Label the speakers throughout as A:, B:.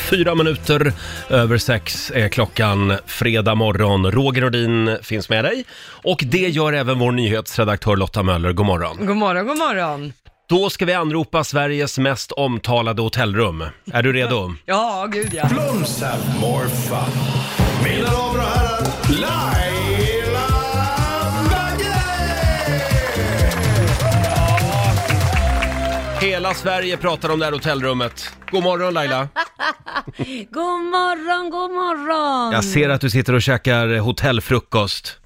A: Fyra minuter över sex är klockan fredag morgon. Roger Nordin finns med dig och det gör även vår nyhetsredaktör Lotta Möller. God morgon.
B: God morgon, god morgon.
A: Då ska vi anropa Sveriges mest omtalade hotellrum. Är du redo?
B: Ja, gud ja.
C: Blooms have more fun. Mina damer och herrar, Laila Bagge!
A: Hela Sverige pratar om det här hotellrummet. God morgon Laila.
D: God morgon, god morgon!
A: Jag ser att du sitter och käkar hotellfrukost.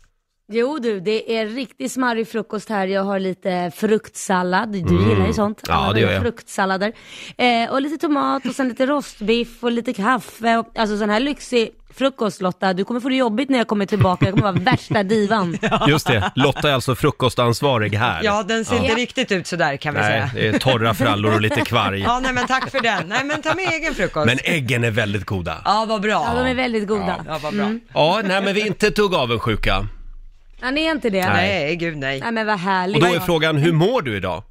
D: Jo du, det är riktigt smarrig frukost här. Jag har lite fruktsallad. Du gillar ju sånt.
A: Mm. Ja,
D: Alla
A: det gör
D: våra
A: jag.
D: Fruktsallader. Eh, och lite tomat och sen lite rostbiff och lite kaffe. Och, alltså sån här lyxig frukost Lotta. Du kommer få det jobbigt när jag kommer tillbaka. Jag kommer vara värsta divan.
A: Just det, Lotta är alltså frukostansvarig här.
B: Ja, den ser inte riktigt ut sådär kan vi
A: Nej,
B: säga.
A: det är torra frallor och lite kvarg.
B: Ja, nej men tack för den. Nej men ta med egen frukost.
A: Men äggen är väldigt goda.
B: Ja, vad
D: Ja, de
B: bra.
D: är väldigt goda. Mm.
B: Ja, vad bra.
A: Ja, nej men vi är inte ett dugg avundsjuka.
D: Ja, ni är inte det?
A: Nej.
B: Nej, gud nej.
D: Nej men vad härligt.
A: Och då är frågan, hur mår du idag?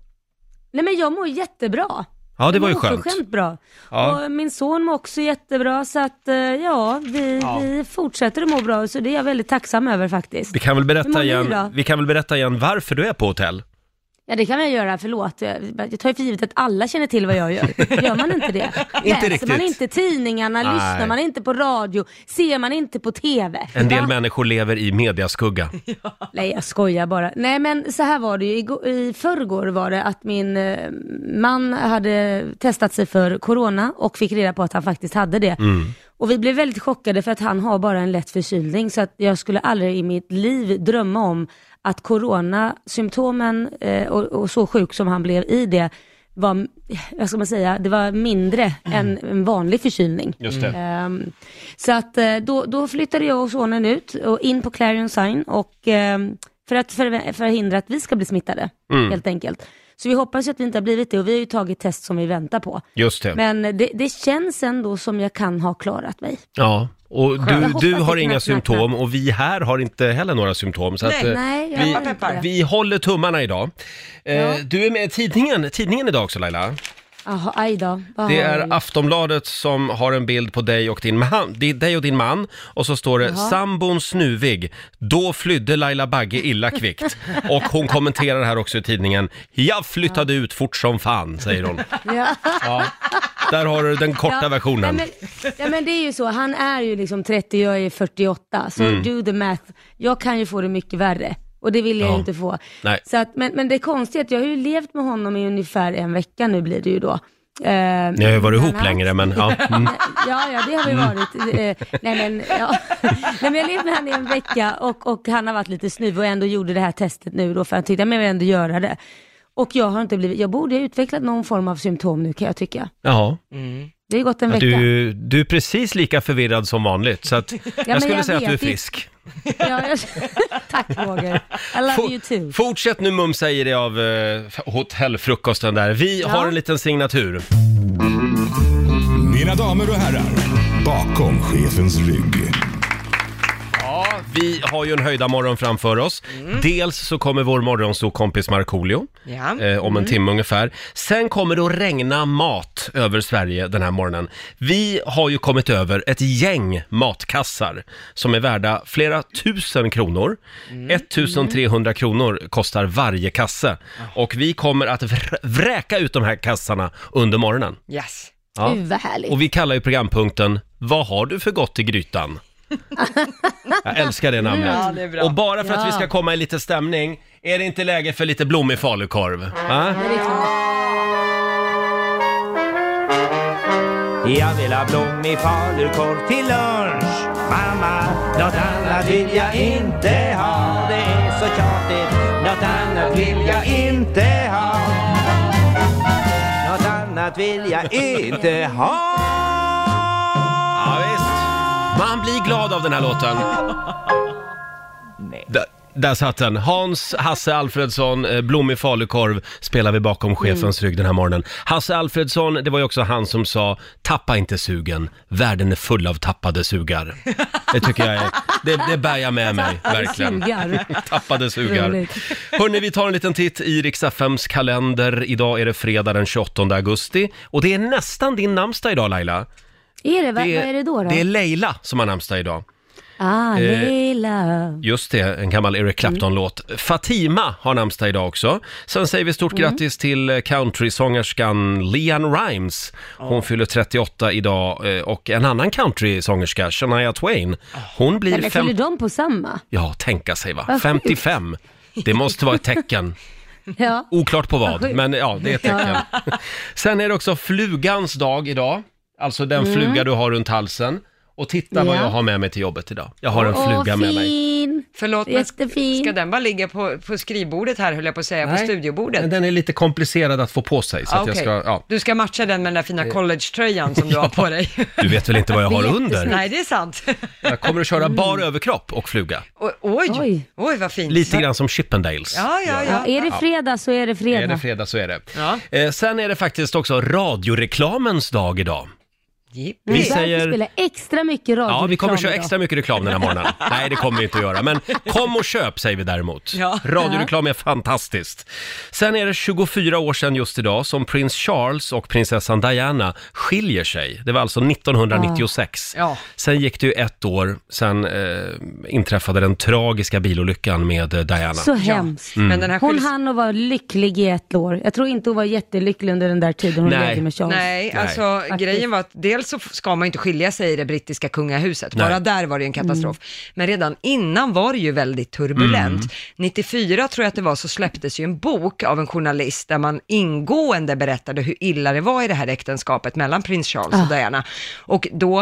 D: Nej men jag mår jättebra.
A: Ja, det var ju
D: Jag mår
A: skönt.
D: oförskämt bra.
A: Ja.
D: Och mm, min son mår också jättebra så att eh, ja, vi, vi fortsätter att må bra så det är jag väldigt tacksam över faktiskt.
A: Vi kan väl
D: Hur mår
A: berätta
D: ni
A: igen,
D: då?
A: vi kan väl berätta igen varför du är på hotell?
D: Ja det kan jag göra, förlåt. Jag, jag tar ju för givet att alla känner till vad jag gör. Gör man inte det? Läser
A: riktigt.
D: man inte tidningarna,
A: Nej.
D: lyssnar man inte på radio, ser man inte på TV.
A: En del
D: Va?
A: människor lever i mediaskugga.
D: Nej jag skojar bara. Nej men så här var det ju, Igår- i förrgår var det att min eh, man hade testat sig för corona och fick reda på att han faktiskt hade det.
A: Mm.
D: Och vi blev väldigt chockade för att han har bara en lätt förkylning så att jag skulle aldrig i mitt liv drömma om att coronasymptomen eh, och, och så sjuk som han blev i det var, eh, vad ska man säga, det var mindre än en vanlig förkylning.
A: Mm. Just det.
D: Ehm, så att eh, då, då flyttade jag och sonen ut och in på Clarion Sign och ehm, för att förvä- förhindra att vi ska bli smittade
A: Mm.
D: helt enkelt. Så vi hoppas ju att vi inte har blivit det och vi har ju tagit test som vi väntar på.
A: Just det.
D: Men det, det känns ändå som jag kan ha klarat mig.
A: Ja, och
D: Jag
A: du,
D: hoppas
A: du
D: det
A: har
D: kan
A: inga
D: knacka.
A: symptom och vi här har inte heller några symptom. Så att,
B: Nej,
A: eh,
D: Nej, jag
A: vi,
D: har inte det.
A: vi håller tummarna idag. Eh,
D: Ja.
A: Du är med i tidningen, tidningen idag också Laila.
D: Jaha, aj då. Vad
A: Det
D: har
A: är
D: vi?
A: Aftonbladet som har en bild på dig och din man. Det är dig och din man. Och så står det “Sambon snuvig. Då flydde Laila Bagge illa kvickt”. Och hon kommenterar här också i tidningen “Jag flyttade ut fort som fan”, säger hon.
D: ja.
A: Ja. Där har du den korta
D: Ja,
A: versionen.
D: Nej, Mm. men, ja, men det är ju så, han är ju liksom 30, jag är 48, så
A: Mm.
D: do the math. Jag kan ju få det mycket värre och det vill jag
A: Ja.
D: ju inte få.
A: Nej.
D: Så att, men, men det konstiga är att jag har ju levt med honom i ungefär en vecka nu blir det ju då. Eh,
A: Ni har ju varit
D: men
A: ihop
D: han-
A: längre, men ja. Mm.
D: Ja, ja, det har vi varit. Eh, nej, men, ja. nej, men jag levde med honom i en vecka och, och han har varit lite snuv och ändå gjorde det här testet nu då för han tyckte att jag vill ändå göra det. Och jag har inte blivit, jag borde ha utvecklat någon form av symptom nu kan jag tycka.
A: Jaha.
D: Det har ju gått en vecka.
A: Du, du är precis lika förvirrad som vanligt, så att jag
D: men
A: skulle
D: jag
A: säga att du är
D: vet ju-
A: frisk.
D: Ja, jag... Tack Roger. I love
A: Fo-
D: you too.
A: fortsätt nu mumsa i dig av eh, hotellfrukosten där. Vi har en liten signatur.
C: Mina damer och herrar, bakom chefens rygg.
A: Ja, vi har ju en höjda morgon framför oss. Dels så kommer vår morgonsokompis Markoolio
B: Ja.
A: eh, om en timme ungefär. Sen kommer det att regna mat över Sverige den här morgonen. Vi har ju kommit över ett gäng matkassar som är värda flera tusen kronor. 1300 kronor kostar varje kasse och vi kommer att vr- vräka ut de här kassarna under morgonen.
B: Yes.
A: Ja.
D: Gud vad härligt.
A: Och vi kallar ju programpunkten Vad har du för gott i grytan? Jag älskar det namnet.
B: Ja, det är bra.
A: Och bara för att
D: Ja.
A: vi ska komma i lite stämning, är det inte läge för lite blommig falukorv? Va?
D: Det är klart.
E: Jag vill ha blommig falukorv till lunch Mamma, något annat vill jag inte ha Det är så tjatigt Något annat vill jag inte ha Något annat vill jag inte ha
A: Ja, visst. Man blir glad av den här låten. Där, där satt den. Hans, Hasse Alfredsson, eh, blommig falukorv spelar vi bakom
E: Mm.
A: chefens rygg den här morgonen. Hasse Alfredsson, det var ju också han som sa “Tappa inte sugen, världen är full av tappade sugar”. Det tycker jag är, det, det bär jag med mig,
D: Tappade
A: verkligen.
D: sugar.
A: Tappade sugar.
D: Roligt.
A: Hörni, vi tar en liten titt i Rix FMs kalender. Idag är det fredag den 28 augusti och det är nästan din namnsdag idag Laila.
D: Är det? Vad, vad är det då? då?
A: Det är eh, Leila som har namnsdag idag.
D: ah, Leila.
A: Just det, en gammal Eric Clapton-låt.
D: Mm.
A: Fatima har namnsdag idag också. Sen säger vi stort grattis till eh, countrysångerskan Leanne Rimes. Hon fyller 38 idag eh, och en annan countrysångerska, Shania Twain, hon
D: Nej,
A: blir...
D: men
A: Fem...
D: fyller de på samma?
A: Ja, tänka sig va.
D: Vad
A: 55. Det måste vara ett tecken.
D: Ja.
A: Oklart på vad,
D: Vad sjukt.
A: men ja, det är ett tecken. Sen är det också flugans dag idag. Alltså den
B: Mm.
A: fluga du har runt halsen. Och titta vad
D: Ja.
A: jag har med mig till jobbet idag. Jag har en
D: Åh,
A: fluga med mig.
D: fin!
B: Förlåt, men
D: Jättefin.
B: ska den bara ligga på, på skrivbordet här höll jag på att säga, på
A: Nej,
B: studiobordet?
A: men Den är lite komplicerad att få på sig, så
B: Ah,
A: att jag
B: okej.
A: ska, ja.
B: Du ska matcha den med den där fina collegetröjan som du har på dig.
A: Du vet väl inte vad jag har under?
B: Nej, det är sant.
A: Jag kommer att köra bar överkropp och fluga.
B: O- oj, oj,
D: Oj.
B: vad fint.
A: Lite grann som Chippendales.
B: Ja, ja,
D: Ja,
B: ja.
D: är det fredag så är det fredag.
A: Är det fredag så är det.
B: Ja.
A: Eh, sen är det faktiskt också radioreklamens dag idag.
B: Jippi.
D: vi
A: vi säger-
D: säger... spela extra mycket radio.
A: Ja, vi kommer att köra extra mycket reklam den här morgonen. Nej, det kommer vi inte att göra. Men kom och köp säger vi däremot.
B: Ja.
A: Radioreklam är fantastiskt. Sen är det 24 år sedan just idag som prins Charles och prinsessan Diana skiljer sig. Det var alltså 1996.
B: Ja.
A: Sen gick det ju ett år, sen eh, inträffade den tragiska bilolyckan med eh, Diana. Mm.
D: Så hemskt.
B: Men den här
D: Hon
B: skils-
D: hann att vara lycklig i ett år. Jag tror inte hon var jättelycklig under den där tiden hon
A: Nej.
D: levde med Charles.
B: Nej, alltså
D: Faktiskt.
B: grejen var att dels så f- ska man ju inte skilja sig i det brittiska kungahuset, bara
A: Nej.
B: där var det ju
D: Mm.
B: en katastrof. Men redan innan var det ju väldigt turbulent.
A: Mm.
B: 94 tror jag att det var, så släpptes ju en bok av en journalist där man ingående berättade hur illa det var i det här äktenskapet mellan prins Charles
D: Ah.
B: och Diana. Och då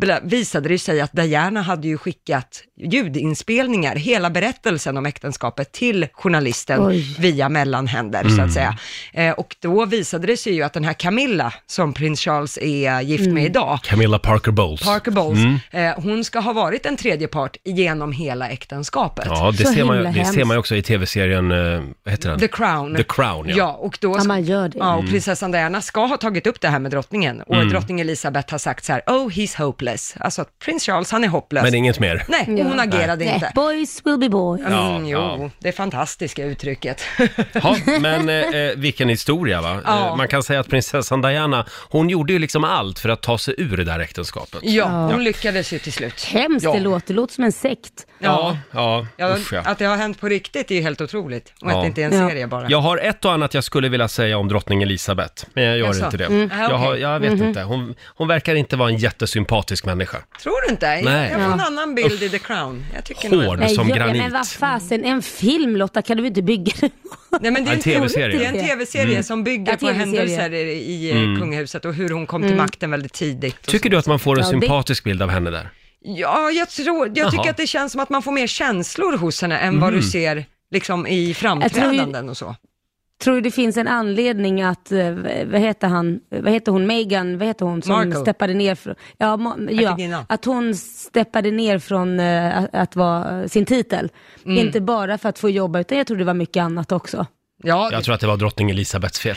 B: bla- visade det ju sig att Diana hade ju skickat ljudinspelningar, hela berättelsen om äktenskapet till journalisten
D: Oj.
B: via mellanhänder så
A: Mm.
B: att säga. Eh, och då visade det sig ju att den här Camilla, som prins Charles är gift
D: Mm.
B: med idag,
A: Camilla Parker Bowles. Mm.
B: Parker Bowles, eh, hon ska ha varit en tredje part genom hela äktenskapet.
A: Ja, det
D: Så
A: ser, man, ju-
D: himla
A: det ser
D: hemskt.
A: man ju också i tv-serien, eh, vad heter den?
B: The Crown.
A: The Crown, ja. Mm.
B: och då...
D: Ja, man gör det.
B: Ja, och prinsessan Diana ska ha tagit upp det här med drottningen. Och drottning Elisabeth har sagt så här, oh he's hopeless. Alltså att prins Charles, han är hopplös.
A: Men inget mer.
B: Nej, och hon agerade
D: Nej,
B: inte.
D: Boys will be boys.
B: Mm, jo,
A: ja.
B: det fantastiska uttrycket.
A: Ja, men eh, eh, vilken historia va?
B: Ja.
A: Eh, man kan säga att prinsessan Diana, hon gjorde ju liksom allt för att ta sig ur det där äktenskapet.
B: ja, hon lyckades ju till slut.
D: Hemskt
A: Ja.
D: det låter, det låter som en sekt.
A: Ja, ja,
B: Ja,
A: usch ja.
B: Att det har hänt på riktigt är ju helt otroligt. Och
A: Ja.
B: att det inte är en
D: Ja.
B: serie bara.
A: Jag har ett och annat jag skulle vilja säga om drottning Elisabeth, men jag gör
B: Jaså?
A: inte det.
B: Mm. Ah,
A: Jag, har,
B: okej.
A: jag vet
D: Mhm.
A: inte, hon, hon verkar inte vara en jättesympatisk människa.
B: Tror du inte?
A: Nej.
B: Jag får en annan bild i The Crown. Jag tycker nog
A: Hård.
B: att-
A: som
D: gör-
A: granit.
D: Men vad fasen, en film Lotta kan du inte bygga den på?
B: Nej, men det är
A: En
B: en
A: TV-serie. Mm.
B: tv-serie. Det är en tv-serie som bygger
D: Ja,
B: på
D: TV-serie. Mm.
B: händelser i, i eh, kungahuset och hur hon kom till makten väldigt tidigt. och
A: Tycker
B: så.
A: du att man får en
D: Ja, det-
A: sympatisk bild av henne där?
B: Ja, jag, tror, jag tycker att det känns som att man får mer känslor hos henne än vad du
A: Mm.
B: ser liksom, i framträdanden och så.
D: Tror du det finns en anledning att, eh, vad heter han, vad heter hon, Meghan, vad heter hon som
B: Markle.
D: steppade ner från, ja, ma-
B: Hertiginna.
D: ja, att hon steppade ner från eh, att, att vara sin titel. Inte bara för att få jobba, utan jag tror det var mycket annat också.
B: Ja,
A: Jag tror att det var drottning Elisabeths fel.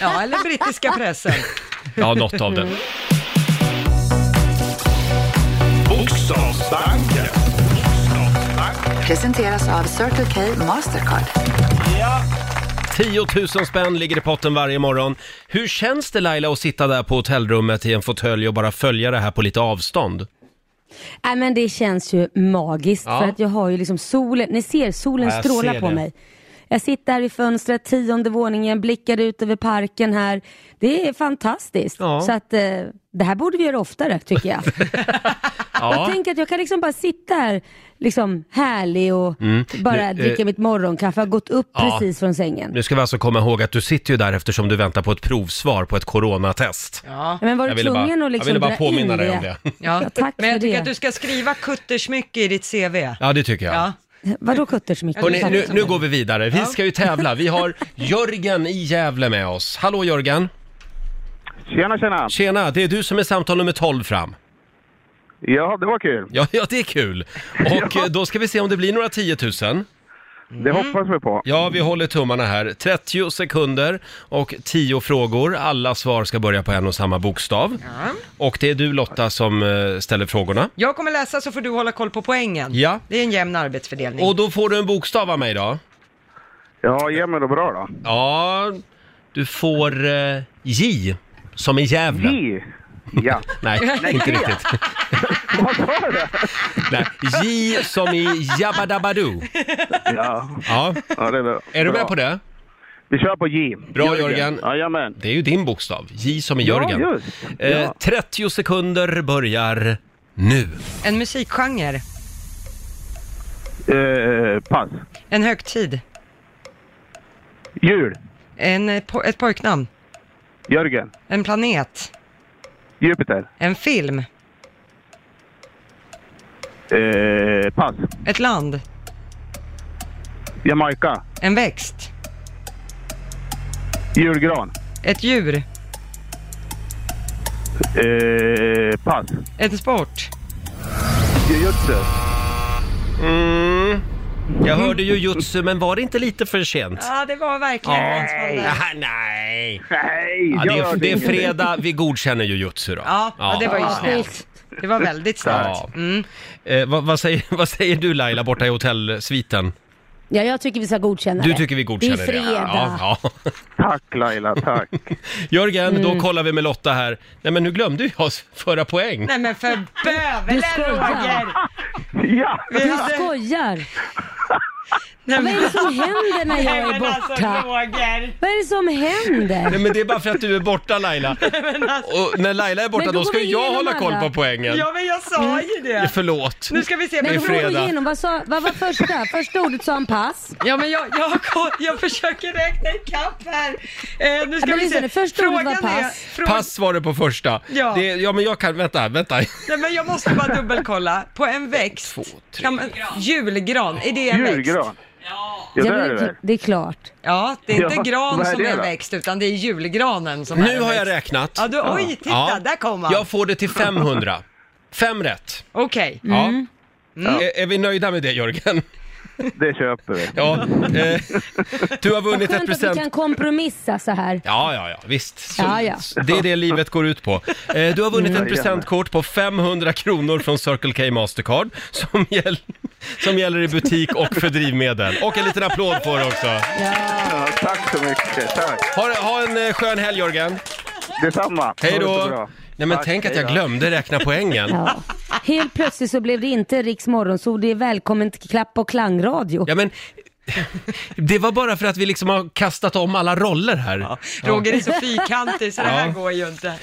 B: ja eller brittiska pressen.
A: Ja, något av
B: Mm.
A: det.
C: Bokstavsbanken.
F: Presenteras av Circle K Mastercard.
A: 10 000 spänn ligger i potten varje morgon. Hur känns det Laila att sitta där på hotellrummet i en fåtölj och bara följa det här på lite avstånd?
D: Nej men det känns ju magiskt
A: Ja.
D: för att jag har ju liksom solen, ni ser solen
A: Ja, jag
D: strålar
A: ser
D: på
A: det.
D: mig. Jag sitter här i fönstret, tionde våningen, blickar ut över parken här. Det är fantastiskt.
A: Ja.
D: Så att eh, det här borde vi göra oftare tycker jag. Jag tänker att jag kan liksom bara sitta här liksom härlig och bara
A: Nu, eh,
D: dricka mitt morgonkaffe. Jag har gått upp
A: Ja.
D: precis från sängen.
A: Nu ska vi alltså komma ihåg att du sitter ju där eftersom du väntar på ett provsvar på ett coronatest.
B: Ja.
D: Men var
A: Jag
D: du
A: ville bara-
D: tvungen
A: jag
D: att liksom
A: ville bara
D: dra
A: påminna
D: in
A: dig om det.
B: Ja.
D: Ja, tack
B: Men jag
D: för
B: tycker
D: det.
B: att du ska skriva kuttersmycke i ditt CV. Ja.
A: Ja, det tycker jag.
D: Vadå
B: Alltså,
D: kuttersmycken?
A: Hörrni, nu, nu går vi vidare. Vi ska ju tävla. Vi har Jörgen i Gävle med oss. Hallå Jörgen!
G: Tjena, tjena!
A: Tjena, det är du som är samtal nummer 12 fram.
G: Ja, det var kul.
A: Ja, ja det är kul. Och eh, då ska vi se om det blir några 10 000.
G: Det hoppas vi på.
A: Ja, vi håller tummarna här. 30 sekunder och 10 frågor. Alla svar ska börja på en och samma bokstav. Och det är du Lotta som eh, ställer frågorna.
B: Jag kommer läsa så får du hålla koll på poängen.
A: Ja.
B: Det är en jämn arbetsfördelning.
A: Och då får du en bokstav av mig då.
G: Ja, ge mig då bra då.
A: Ja, du får eh, J som i Gävle.
G: J. Ja.
A: Nej, inte riktigt.
G: Vad sa du?
A: Nej. J som i Jabba Dabba Doo.
G: Ja.
A: Ja.
G: ja, det är bra.
A: Är du
G: Bra.
A: med på det?
G: Vi kör på J.
A: Bra, Jörgen.
G: Jajamän.
A: Det är ju din bokstav. J som i
G: Ja,
A: Jörgen.
G: just. Ja.
A: Eh, 30 sekunder börjar nu.
B: En musikgenre.
G: Eh, pass.
B: En högtid.
G: Jul.
B: En, eh, po- ett pojknamn.
G: Jörgen.
B: En planet.
G: Jupiter.
B: En film.
G: Eh, pass.
B: Ett land.
G: Jamaica.
B: En växt.
G: Julgran.
B: Ett djur.
G: Eh, pass.
B: En sport.
G: Jujutsu.
A: Mm. Jag hörde ju jutsu, men var det inte lite för sent?
B: Ja, det var verkligen
A: Nej. Ah, nej.
G: Nej,
A: Ja, det, är,
G: gör
A: det är
G: inget.
A: fredag, vi godkänner ju jutsu då.
B: Ja, ja, det var ju snällt. Det var väldigt
A: Ja.
B: snällt. Mm.
A: Eh, vad, vad, säger, vad säger du Laila borta i hotellsviten?
D: Ja, jag tycker vi ska godkänna
A: Du
D: det.
A: tycker vi godkänner
D: det.
A: det?
D: är fredag.
A: Ja, ja.
G: Tack Laila, tack.
A: Jörgen,
B: Mm.
A: då kollar vi med Lotta här. Nej men nu glömde jag föra poäng.
B: Nej men för
D: Du
B: bövelen
D: skojar.
B: Roger!
G: ja!
B: Vi
D: Du
B: hade...
D: skojar!
B: Nej,
D: Vad är det som händer när jag
B: Nej,
D: är
B: men alltså
D: borta?
B: Roger!
D: Vad är det som händer?
A: Nej men det är bara för att du är borta Laila.
B: alltså-
A: Och när Laila är borta
D: Men då
A: då ska
D: går vi
A: jag
D: igenom
A: hålla koll
D: alla.
A: på poängen.
B: Ja men jag sa ju det!
A: Förlåt.
B: Nu ska vi se.
A: Det är
D: Men går du
A: fredag.
D: igenom, vad, sa, vad var första? Första ordet sa han pass.
B: Ja men jag, jag, jag försöker räkna ikapp här. Eh, nu ska
D: men
B: vi
D: lyssna
B: se.
D: nu, först ordet var pass.
B: fråga-
A: Pass var det på första.
B: Ja.
A: Det, ja men jag kan, vänta, vänta.
B: Nej men jag måste bara dubbelkolla. På en växt.
A: två, tre.
B: kan
D: Typ.
B: man, julgran, är det en växt?
G: Julgran. Ja, det
D: Ja, men
G: är
D: det,
G: det väl?
D: är- det är klart.
B: Ja, det är
G: Ja,
B: inte gran
G: vad är
B: som
G: det
B: är en
G: då?
B: växt utan det är julgranen som är
A: Nu
B: en
A: har jag
B: växt.
A: räknat.
B: Ja, du, oj, titta,
A: Ja.
B: där kom han.
A: Jag får det till 500. Fem rätt.
B: Okej.
A: Ja. Är, är vi nöjda med det Jörgen?
G: Det köper vi.
A: Ja. Eh, du har vunnit ett
D: Skönt att vi
A: present...
D: kan kompromissa så här.
A: Ja, ja, ja, visst. Så,
D: Ja, ja.
A: Det är det livet går ut på. Eh, du har vunnit ett presentkort på 500 kronor från Circle K Mastercard som, gäll, som gäller i butik och för drivmedel. Och en liten applåd på det också.
G: Ja, tack så mycket, tack.
A: Ha, ha en eh, skön helg Jörgen.
G: Detsamma.
A: Hej
G: Ha det så
A: då.
G: bra.
A: Nej men
G: Tack,
A: tänk att
G: hej
A: jag
G: då.
A: glömde räkna poängen.
D: Ja. Helt plötsligt så blev det inte Riks morgonsol, det är välkommen till klapp och klangradio.
A: Ja men, det var bara för att vi liksom har kastat om alla roller här. Ja,
B: Roger är så fyrkantig så det här
A: Ja.
B: går ju inte.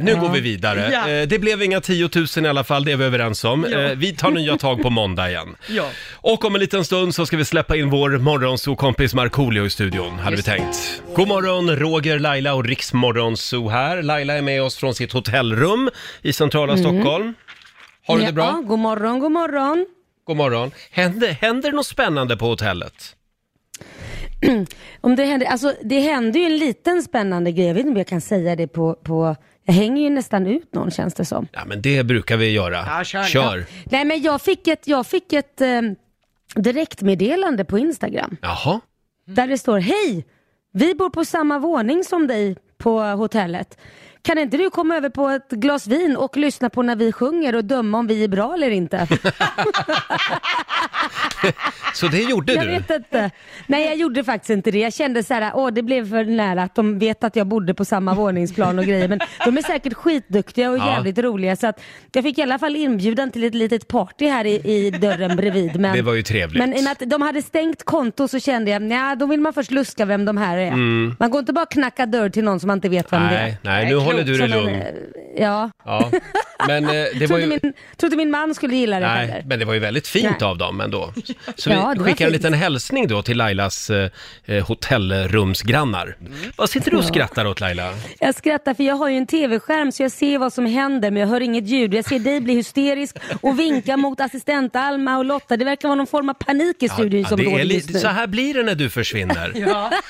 A: nu går vi vidare.
B: Ja.
A: Eh, Det blev inga 10 000 i alla fall, det är vi överens om. Eh, Vi tar nya tag på måndag igen.
B: Ja.
A: Och om en liten stund så ska vi släppa in vår morgonsokompis Markoolio i studion, hade vi tänkt. God morgon, Roger, Laila och Riksmorgonso här. Laila är med oss från sitt hotellrum i centrala Stockholm. Har du det
D: Mm. Ja,
A: bra?
D: god morgon, god morgon.
A: God morgon. Händer, händer något spännande på hotellet?
D: Om det, händer, alltså, det händer ju en liten spännande grej, jag vet inte om jag kan säga det på, på jag hänger ju nästan ut någon känns det som.
A: Ja, men det brukar vi göra.
B: Ja, kör.
A: kör.
D: Nej men jag fick ett, jag fick ett eh, direktmeddelande på Instagram
A: Jaha.
D: där det står Hej! Vi bor på samma våning som dig på hotellet. Kan inte du komma över på ett glas vin och lyssna på när vi sjunger och döma om vi är bra eller inte?
A: Så det gjorde
D: Jag
A: du?
D: vet inte. Nej, jag gjorde faktiskt inte det. Jag kände så här, åh det blev för nära att de vet att jag bodde på samma våningsplan och grejer. Men de är säkert skitduktiga och
A: Ja.
D: jävligt roliga. Så att jag fick i alla fall inbjudan till ett litet party här i, i dörren bredvid. Men,
A: Det var ju trevligt.
D: Men i och med att de hade stängt konto så kände jag, nej då vill man först luska vem de här är. Man går inte bara och knackar dörr till någon som man inte vet vem det är.
A: Mm. Nej, nej, nu håller du dig
D: Som en,
A: lugn.
D: eh, Ja.
A: Ja. Men eh, det var
D: Trodde,
A: ju...
D: min, trodde min man skulle gilla det
A: Nej,
D: heller.
A: men det var ju väldigt fint
D: Nej.
A: av dem ändå. Så vi
D: Ja, det var
A: skickar en
D: fint.
A: liten hälsning då till Lailas eh, eh, hotellrumsgrannar. Vad sitter du och skrattar åt Laila?
D: Jag skrattar för jag har ju en tv-skärm så jag ser vad som händer men jag hör inget ljud. Jag ser dig bli hysterisk och vinka mot assistent Alma och Lotta. Det verkar vara någon form av panik i studion
A: Ja,
D: som
A: det
D: råder
A: är li-
D: just nu.
A: så här blir det när du försvinner.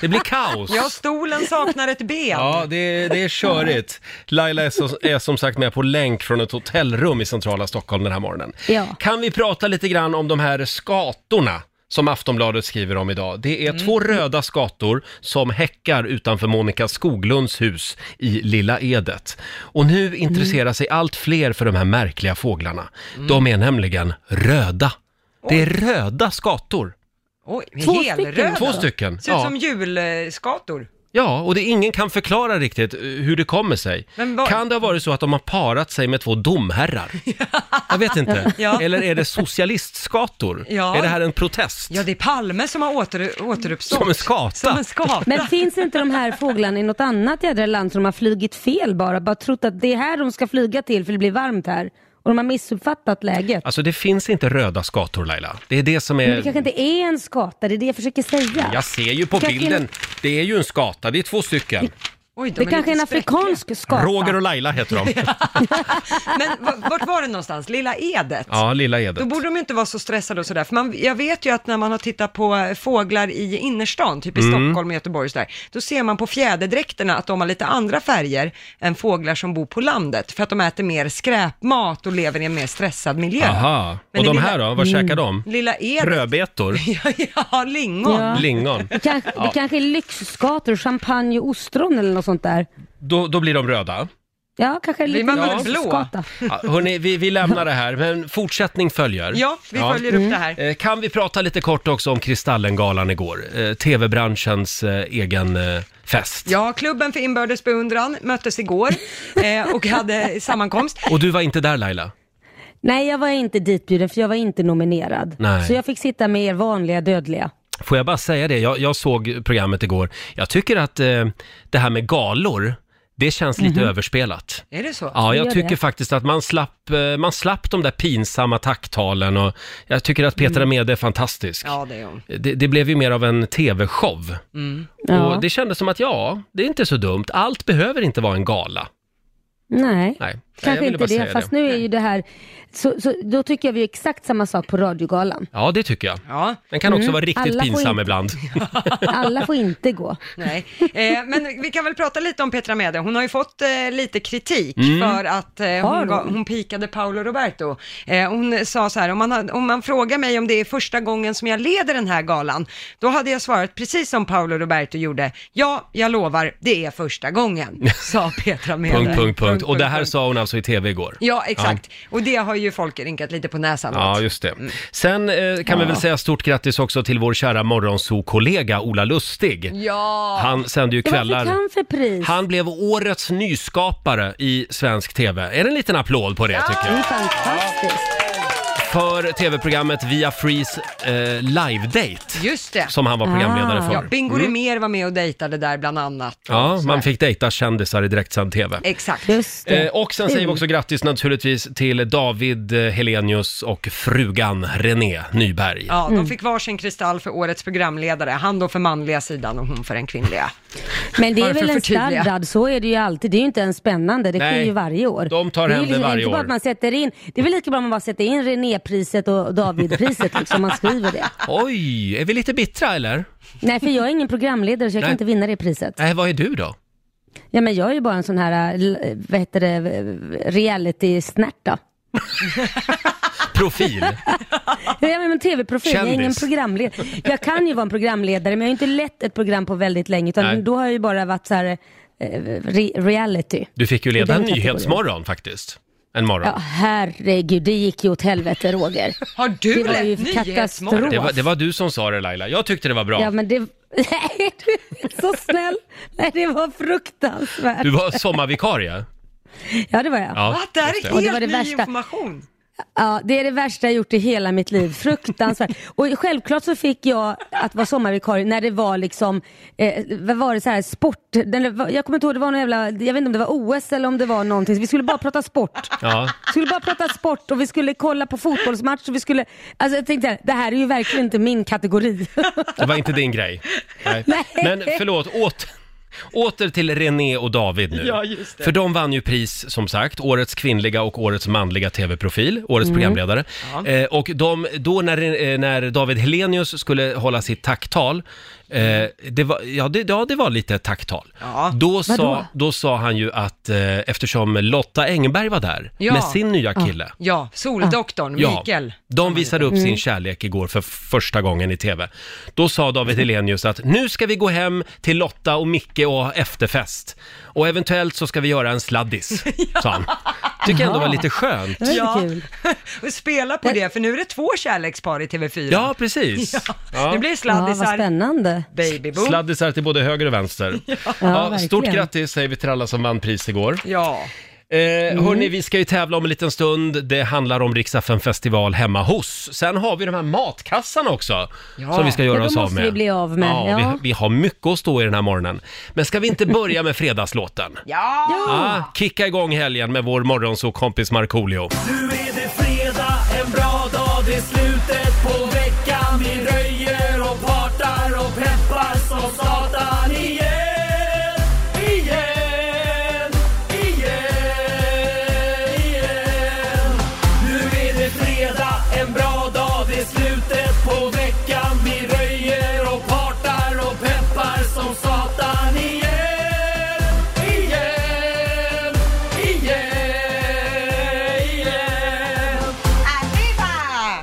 A: Det blir kaos.
B: Ja, stolen saknar ett ben.
A: Ja, det, det är körigt. Laila är, så, är som sagt med på länk från ett hotellrum i centrala Stockholm den här morgonen.
D: Ja.
A: Kan vi prata lite grann om de här skatorna? som Aftonbladet skriver om idag. Det är två röda skator som häckar utanför Monica Skoglunds hus i Lilla Edet. Och nu intresserar sig allt fler för de här märkliga fåglarna. De är nämligen röda. Det är röda skator.
B: Oj,
D: Två stycken.
B: helröda.
A: Två stycken.
B: Ser ut som julskator.
A: Ja, och det ingen kan förklara riktigt eh, hur det kommer sig.
B: Men vad-
A: Kan det ha varit så att de har parat sig med två domherrar? Jag vet inte.
B: Ja.
A: Eller är det socialistskator?
B: Ja.
A: Är det här en protest?
B: Ja, det är Palme som har åter, återuppstått.
A: Som en skata.
B: Som en skata.
D: Men finns inte de här fåglarna i något annat jädra land som de har flugit fel bara? Bara trott att det är här de ska flyga till för det blir varmt här. Och de har missuppfattat läget.
A: Alltså det finns inte röda skator Laila. Det är det som
D: Men det
A: är...
D: kanske inte är en skata, det är det jag försöker säga.
A: Jag ser ju på
D: Det kanske är
A: bilden.
D: en-
A: Det är ju en skata, det är två stycken.
B: Oj, de
D: Det
B: är
D: kanske är en
B: lite spräckliga.
D: afrikansk skata.
A: Roger och Laila heter de.
B: Men va- vart var det någonstans? Lilla Edet?
A: Ja, Lilla
B: Då
A: Edet.
B: borde de ju inte vara så stressade och sådär, för man, jag vet ju att när man har tittat på eh, fåglar i innerstan, typ i
A: Mm.
B: Stockholm och Göteborg och sådär, då ser man på fjäderdräkterna att de har lite andra färger än fåglar som bor på landet, för att de äter mer skräpmat och lever i en mer stressad miljö.
A: Aha.
B: Men
A: Och
B: i
A: de
B: lilla- Mm.
A: här då, vad käkar de?
B: Lilla Edet,
A: Rödbetor?
B: ja, lingon.
D: Ja.
A: Lingon?
D: Det kanske, det kanske är lyxskator, champagne och ostron eller något sånt där.
A: Då, då blir de röda.
D: Ja, kanske en
B: Blir man
D: liten
B: väl blå?
D: skata.
A: Ja, hörni, vi, vi lämnar det här, men fortsättning följer.
B: Ja, vi följer upp det här.
A: Eh, Kan vi prata lite kort också om Kristallengalan igår? Eh, TV-branschens eh, egen eh, fest.
B: Ja, klubben för inbördes beundran möttes igår eh, och hade sammankomst.
A: Och du var inte där Laila?
D: Nej, jag var inte ditbjuden för jag var inte nominerad.
A: Nej.
D: Så jag fick sitta med er vanliga dödliga.
A: Får jag bara säga det, jag, jag såg programmet igår. Jag tycker att eh, det här med galor, det känns lite överspelat.
B: Är Mhm. det så?
A: Ja, jag
D: Gör
A: tycker
D: det.
A: faktiskt att man slapp, eh, man slapp de där pinsamma tacktalen och jag tycker att
B: Mm.
A: Petra Mede är fantastisk.
B: Ja, det är hon.
A: Det, det blev ju mer av en TV-show.
D: Ja.
A: Och det kändes som att ja, det är inte så dumt. Allt behöver inte vara en gala.
D: Nej.
A: Nej, Nej, jag
D: Kanske
A: ville
D: inte
A: bara säga
D: det, fast nu är ju det här, så, så då tycker jag vi gör exakt samma sak på radiogalan.
A: Ja, det tycker jag.
B: Ja.
A: Den kan också vara riktigt
D: Mm. Alla får
A: pinsam
D: inte-
A: ibland.
D: Alla får inte gå.
B: Nej, eh, men vi kan väl prata lite om Petra Mede. Hon har ju fått eh, lite kritik
A: Mm.
B: för att eh,
D: Har
B: hon,
D: hon?
B: gav, hon pikade Paolo Roberto. Eh, hon sa så här, om man, har- om man frågar mig om det är första gången som jag leder den här galan, då hade jag svarat precis som Paolo Roberto gjorde. Ja, jag lovar, det är första gången, sa Petra Mede.
A: punkt, punkt, punkt. Och det här
B: punkt.
A: sa hon alltså i TV igår.
B: Ja, exakt. Mm. Och det har ju folk rinkat lite på näsan
A: Ja,
B: åt.
A: just det. Sen eh, kan vi väl säga stort grattis också till vår kära morgonsokollega Ola Lustig.
B: Ja,
A: Han sände ju
D: Ja, Vad fick
A: kvällar.
D: han för pris?
A: Han blev årets nyskapare i svensk TV. Är det en liten applåd på det tycker
D: Det är
A: jag?
D: fantastiskt.
A: För TV-programmet Via Frees eh, Live Date
B: just det.
A: som han var programledare
D: Ah.
A: för. Mm.
B: Ja, Bingo Rimér var med och dejtade där bland annat.
A: Ja,
B: Så
A: man
B: här.
A: fick dejta kändisar i direktsänd TV.
B: Exakt.
D: Just det.
A: Eh, och sen säger vi också grattis naturligtvis till David eh, Helenius och frugan René Nyberg.
B: Ja,
D: Mm.
B: de fick varsin kristall för årets programledare. Han då för manliga sidan och hon för den kvinnliga.
D: Men det är
B: Varför
D: väl en
B: förtydliga?
D: standard, så är det ju alltid. Det är ju inte ens spännande, det
A: Nej,
D: sker ju varje år.
A: de tar
D: det är
A: hem
D: ju
A: det
D: liksom
A: varje
D: inte bara
A: år.
D: att man sätter in, det är väl lika bra om man bara sätter in René-priset och David-priset liksom, man skriver det.
A: Oj, är vi lite bittra eller?
D: Nej, för jag är ingen programledare så jag
A: Nej.
D: kan inte vinna det priset.
A: Nej, vad är du då?
D: Ja, men jag är ju bara en sån här, äh, l- vad heter det, reality-snärta.
A: Profil.
D: Ja, men en tv-profil, jag är ingen
A: Kändis.
D: programledare. Jag kan ju vara en programledare, men jag har ju inte lett ett program på väldigt länge, utan
A: Nej.
D: då har jag ju bara varit så här, eh, re- reality.
A: Du fick ju leda
D: I
A: en
D: den kategorin.
A: nyhetsmorgon faktiskt. En morgon.
D: Ja, herregud, det gick ju åt helvete, Roger.
B: Har du
D: Det var ju
B: lett nyhetsmorgon?
D: katastrof.
A: Det, var, det var du som sa det Laila. Jag tyckte det var bra.
D: Ja, men det... Nej, du är så snäll. Nej, det var fruktansvärt.
A: Du var sommarvikarie.
D: Ja, det var jag. Ja.
A: Ja,
B: Va? Det här
A: just
B: är
D: Och det
B: helt
D: var det
B: ny
D: värsta.
B: information.
D: det är det värsta jag gjort i hela mitt liv. Fruktansvärt. Och självklart så fick jag att vara sommarvikarie när det var liksom, eh, vad var det så här, sport. Den, var- jag kommer inte ihåg, det var någon jävla, jag vet inte om det var OS eller om det var någonting. Så vi skulle bara prata sport.
A: Ja.
D: Vi skulle bara prata sport och vi skulle kolla på fotbollsmatch och vi skulle, alltså jag tänkte så här, det här är ju verkligen inte min kategori.
A: Det var inte din grej. Nej.
D: Nej.
A: Men förlåt, åter, åter till René och David nu.
B: Ja, just det.
A: För de vann ju pris, som sagt, årets kvinnliga och årets manliga tv-profil, årets programledare. Eh, och de, då när, eh, när David Helenius skulle hålla sitt tacktal, eh, det var, ja, det, ja, det var lite ett tacktal.
B: Ja.
A: Då, sa,
D: Vadå?
A: då sa han ju att eh, eftersom Lotta Engberg var där
B: Ja.
A: med sin nya kille,
B: Ja, Soldoktorn, Mikael.
A: de visade upp sin kärlek igår för första gången i TV. Då sa David Helenius att nu ska vi gå hem till Lotta och Micke och ha efterfest. Och eventuellt så ska vi göra en sladdis, sa han. Tycker jag ändå var
D: Jaha.
A: lite skönt.
D: Det var
B: Ja.
D: ja. kul.
B: Och spela på det, för nu är det två kärlekspar i TV4.
A: Ja, precis. Ja.
B: Nu blir det
D: Ja, vad
B: sladdisar,
D: spännande.
B: babyboom.
A: Sladdisar till både höger och vänster. Ja,
D: verkligen.
A: stort grattis säger vi till alla som vann pris igår.
B: Ja,
A: Eh, Hörni, vi ska ju tävla om en liten stund. Det handlar om Riksaffen festival hemma hos. Sen har vi de här matkassarna också
B: Ja.
A: som vi ska
D: Ja,
A: göra
D: de
A: oss av
D: måste
A: med.
D: vi bli av med,
A: Ja,
D: ja.
A: Vi, vi har mycket att stå i den här morgonen. Men ska vi inte börja med fredagslåten?
B: ja.
A: Ah, kicka igång helgen med vår morgonsåkompis Markoolio.
H: Nu är det fredag, en bra dag, det är slutet på veckan. Vi röjer och partar och peppar som satan igen, igen, igen, igen. Nu är det fredag, en bra dag, det är slutet på veckan. Vi röjer och partar och peppar som satan igen, igen, igen, igen.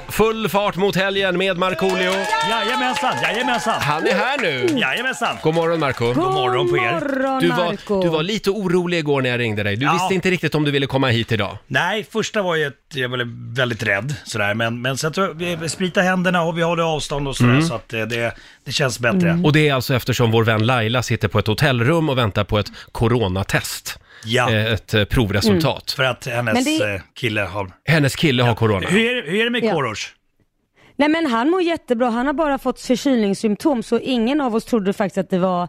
A: Full fart mot helgen med Markoolio.
H: Jajamensan, jajamensan,
A: Han är här nu.
H: jajamensan.
A: God morgon Marco.
D: God
H: morgon på er.
D: morgon,
A: Du var,
D: Marco.
A: du var lite orolig igår när jag ringde dig. Du
H: Ja.
A: visste inte riktigt om du ville komma hit idag.
H: Nej, första var ju att jag blev väldigt rädd sådär, men, men sen tror jag vi spritar händerna och vi håller avstånd och sådär så att eh, det, det känns bättre.
A: Mm.
D: Mm.
A: Och det är alltså eftersom vår vän Laila sitter på ett hotellrum och väntar på ett coronatest.
H: Ja.
A: Eh, Ett eh, provresultat.
H: För att hennes
D: Men det-
H: eh, kille har...
D: Mm.
A: Hennes kille har corona.
H: Hur är, det- hur är det med
D: Ja.
H: Korosh?
D: Nej men han mår jättebra, han har bara fått förkylningssymptom så ingen av oss trodde faktiskt att det var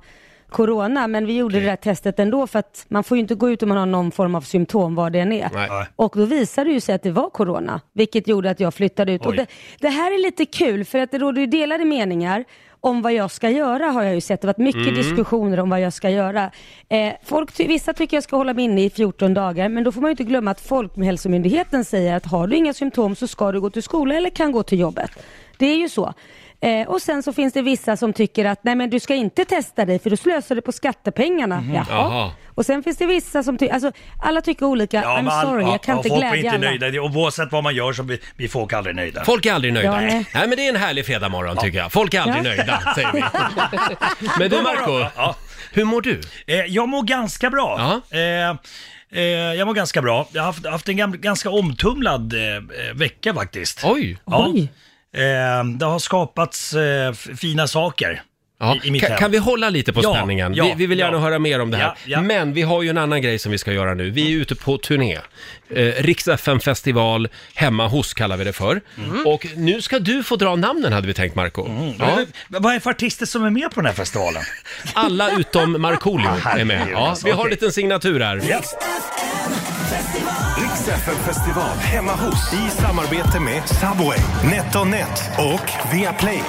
D: Corona, men vi gjorde det där testet ändå för att man får ju inte gå ut om man har någon form av symptom vad det än är.
A: Nej.
H: Ja.
D: Och då visade det ju sig att det var corona, vilket gjorde att jag flyttade ut. Och
H: Oj.
D: det, det här är lite kul för att det råder ju delade meningar om vad jag ska göra har jag ju sett. Det har varit mycket diskussioner om vad jag ska göra. Eh, folk ty- vissa tycker jag ska hålla mig inne i 14 dagar men då får man ju inte glömma att Folkhälsomyndigheten säger att har du inga symptom så ska du gå till skola eller kan gå till jobbet. Det är ju så. Eh, och sen så finns det vissa som tycker att nej men du ska inte testa dig för då slösar du på skattepengarna. Jaha.
A: Jaha.
D: Och sen finns det vissa som tycker, alltså alla tycker olika.
H: men
D: I'm
H: all-
D: sorry,
H: ja,
D: jag kan
H: ja,
D: inte
H: folk
D: glädja
H: blir inte
D: alla.
H: nöjda. Det- Och oavsett vad man gör så blir vi folk aldrig nöjda.
A: Folk är aldrig nöjda.
D: Ja,
A: nej.
D: nej.
A: men det är en härlig fredagmorgon tycker jag. Folk är aldrig
D: Ja.
A: nöjda, säger vi. Men du Marco,
H: Ja.
A: hur mår du?
H: Eh, jag mår ganska bra.
A: Ja.
H: Eh, eh, jag mår ganska bra. Jag har haft, haft en gam- ganska omtumlad eh, eh, vecka faktiskt.
A: Oj!
H: Ja.
D: Oj.
H: Eh, det har skapats eh, f- fina saker
A: Ja.
H: i, i mitt
A: Kan,
H: hem.
A: kan vi hålla lite på
H: Ja,
A: spänningen?
H: ja,
A: vi, vi vill gärna
H: ja.
A: höra mer om det här.
H: Ja, ja.
A: Men vi har ju en annan grej som vi ska göra nu. Vi är ute på turné. Eh, Riks FM festival hemma hos kallar vi det för. Och nu ska du få dra namnen hade vi tänkt Marco. Ja.
H: Mm. Men Vad är det för artister som är med på den här festivalen?
A: Alla utom Markoolio är med.
H: herregud,
A: Ja,
H: alltså,
A: vi har en
H: okej.
A: liten signatur här.
C: Riksfn festival hemma hos i samarbete med Subway, NetOnNet och Viaplay.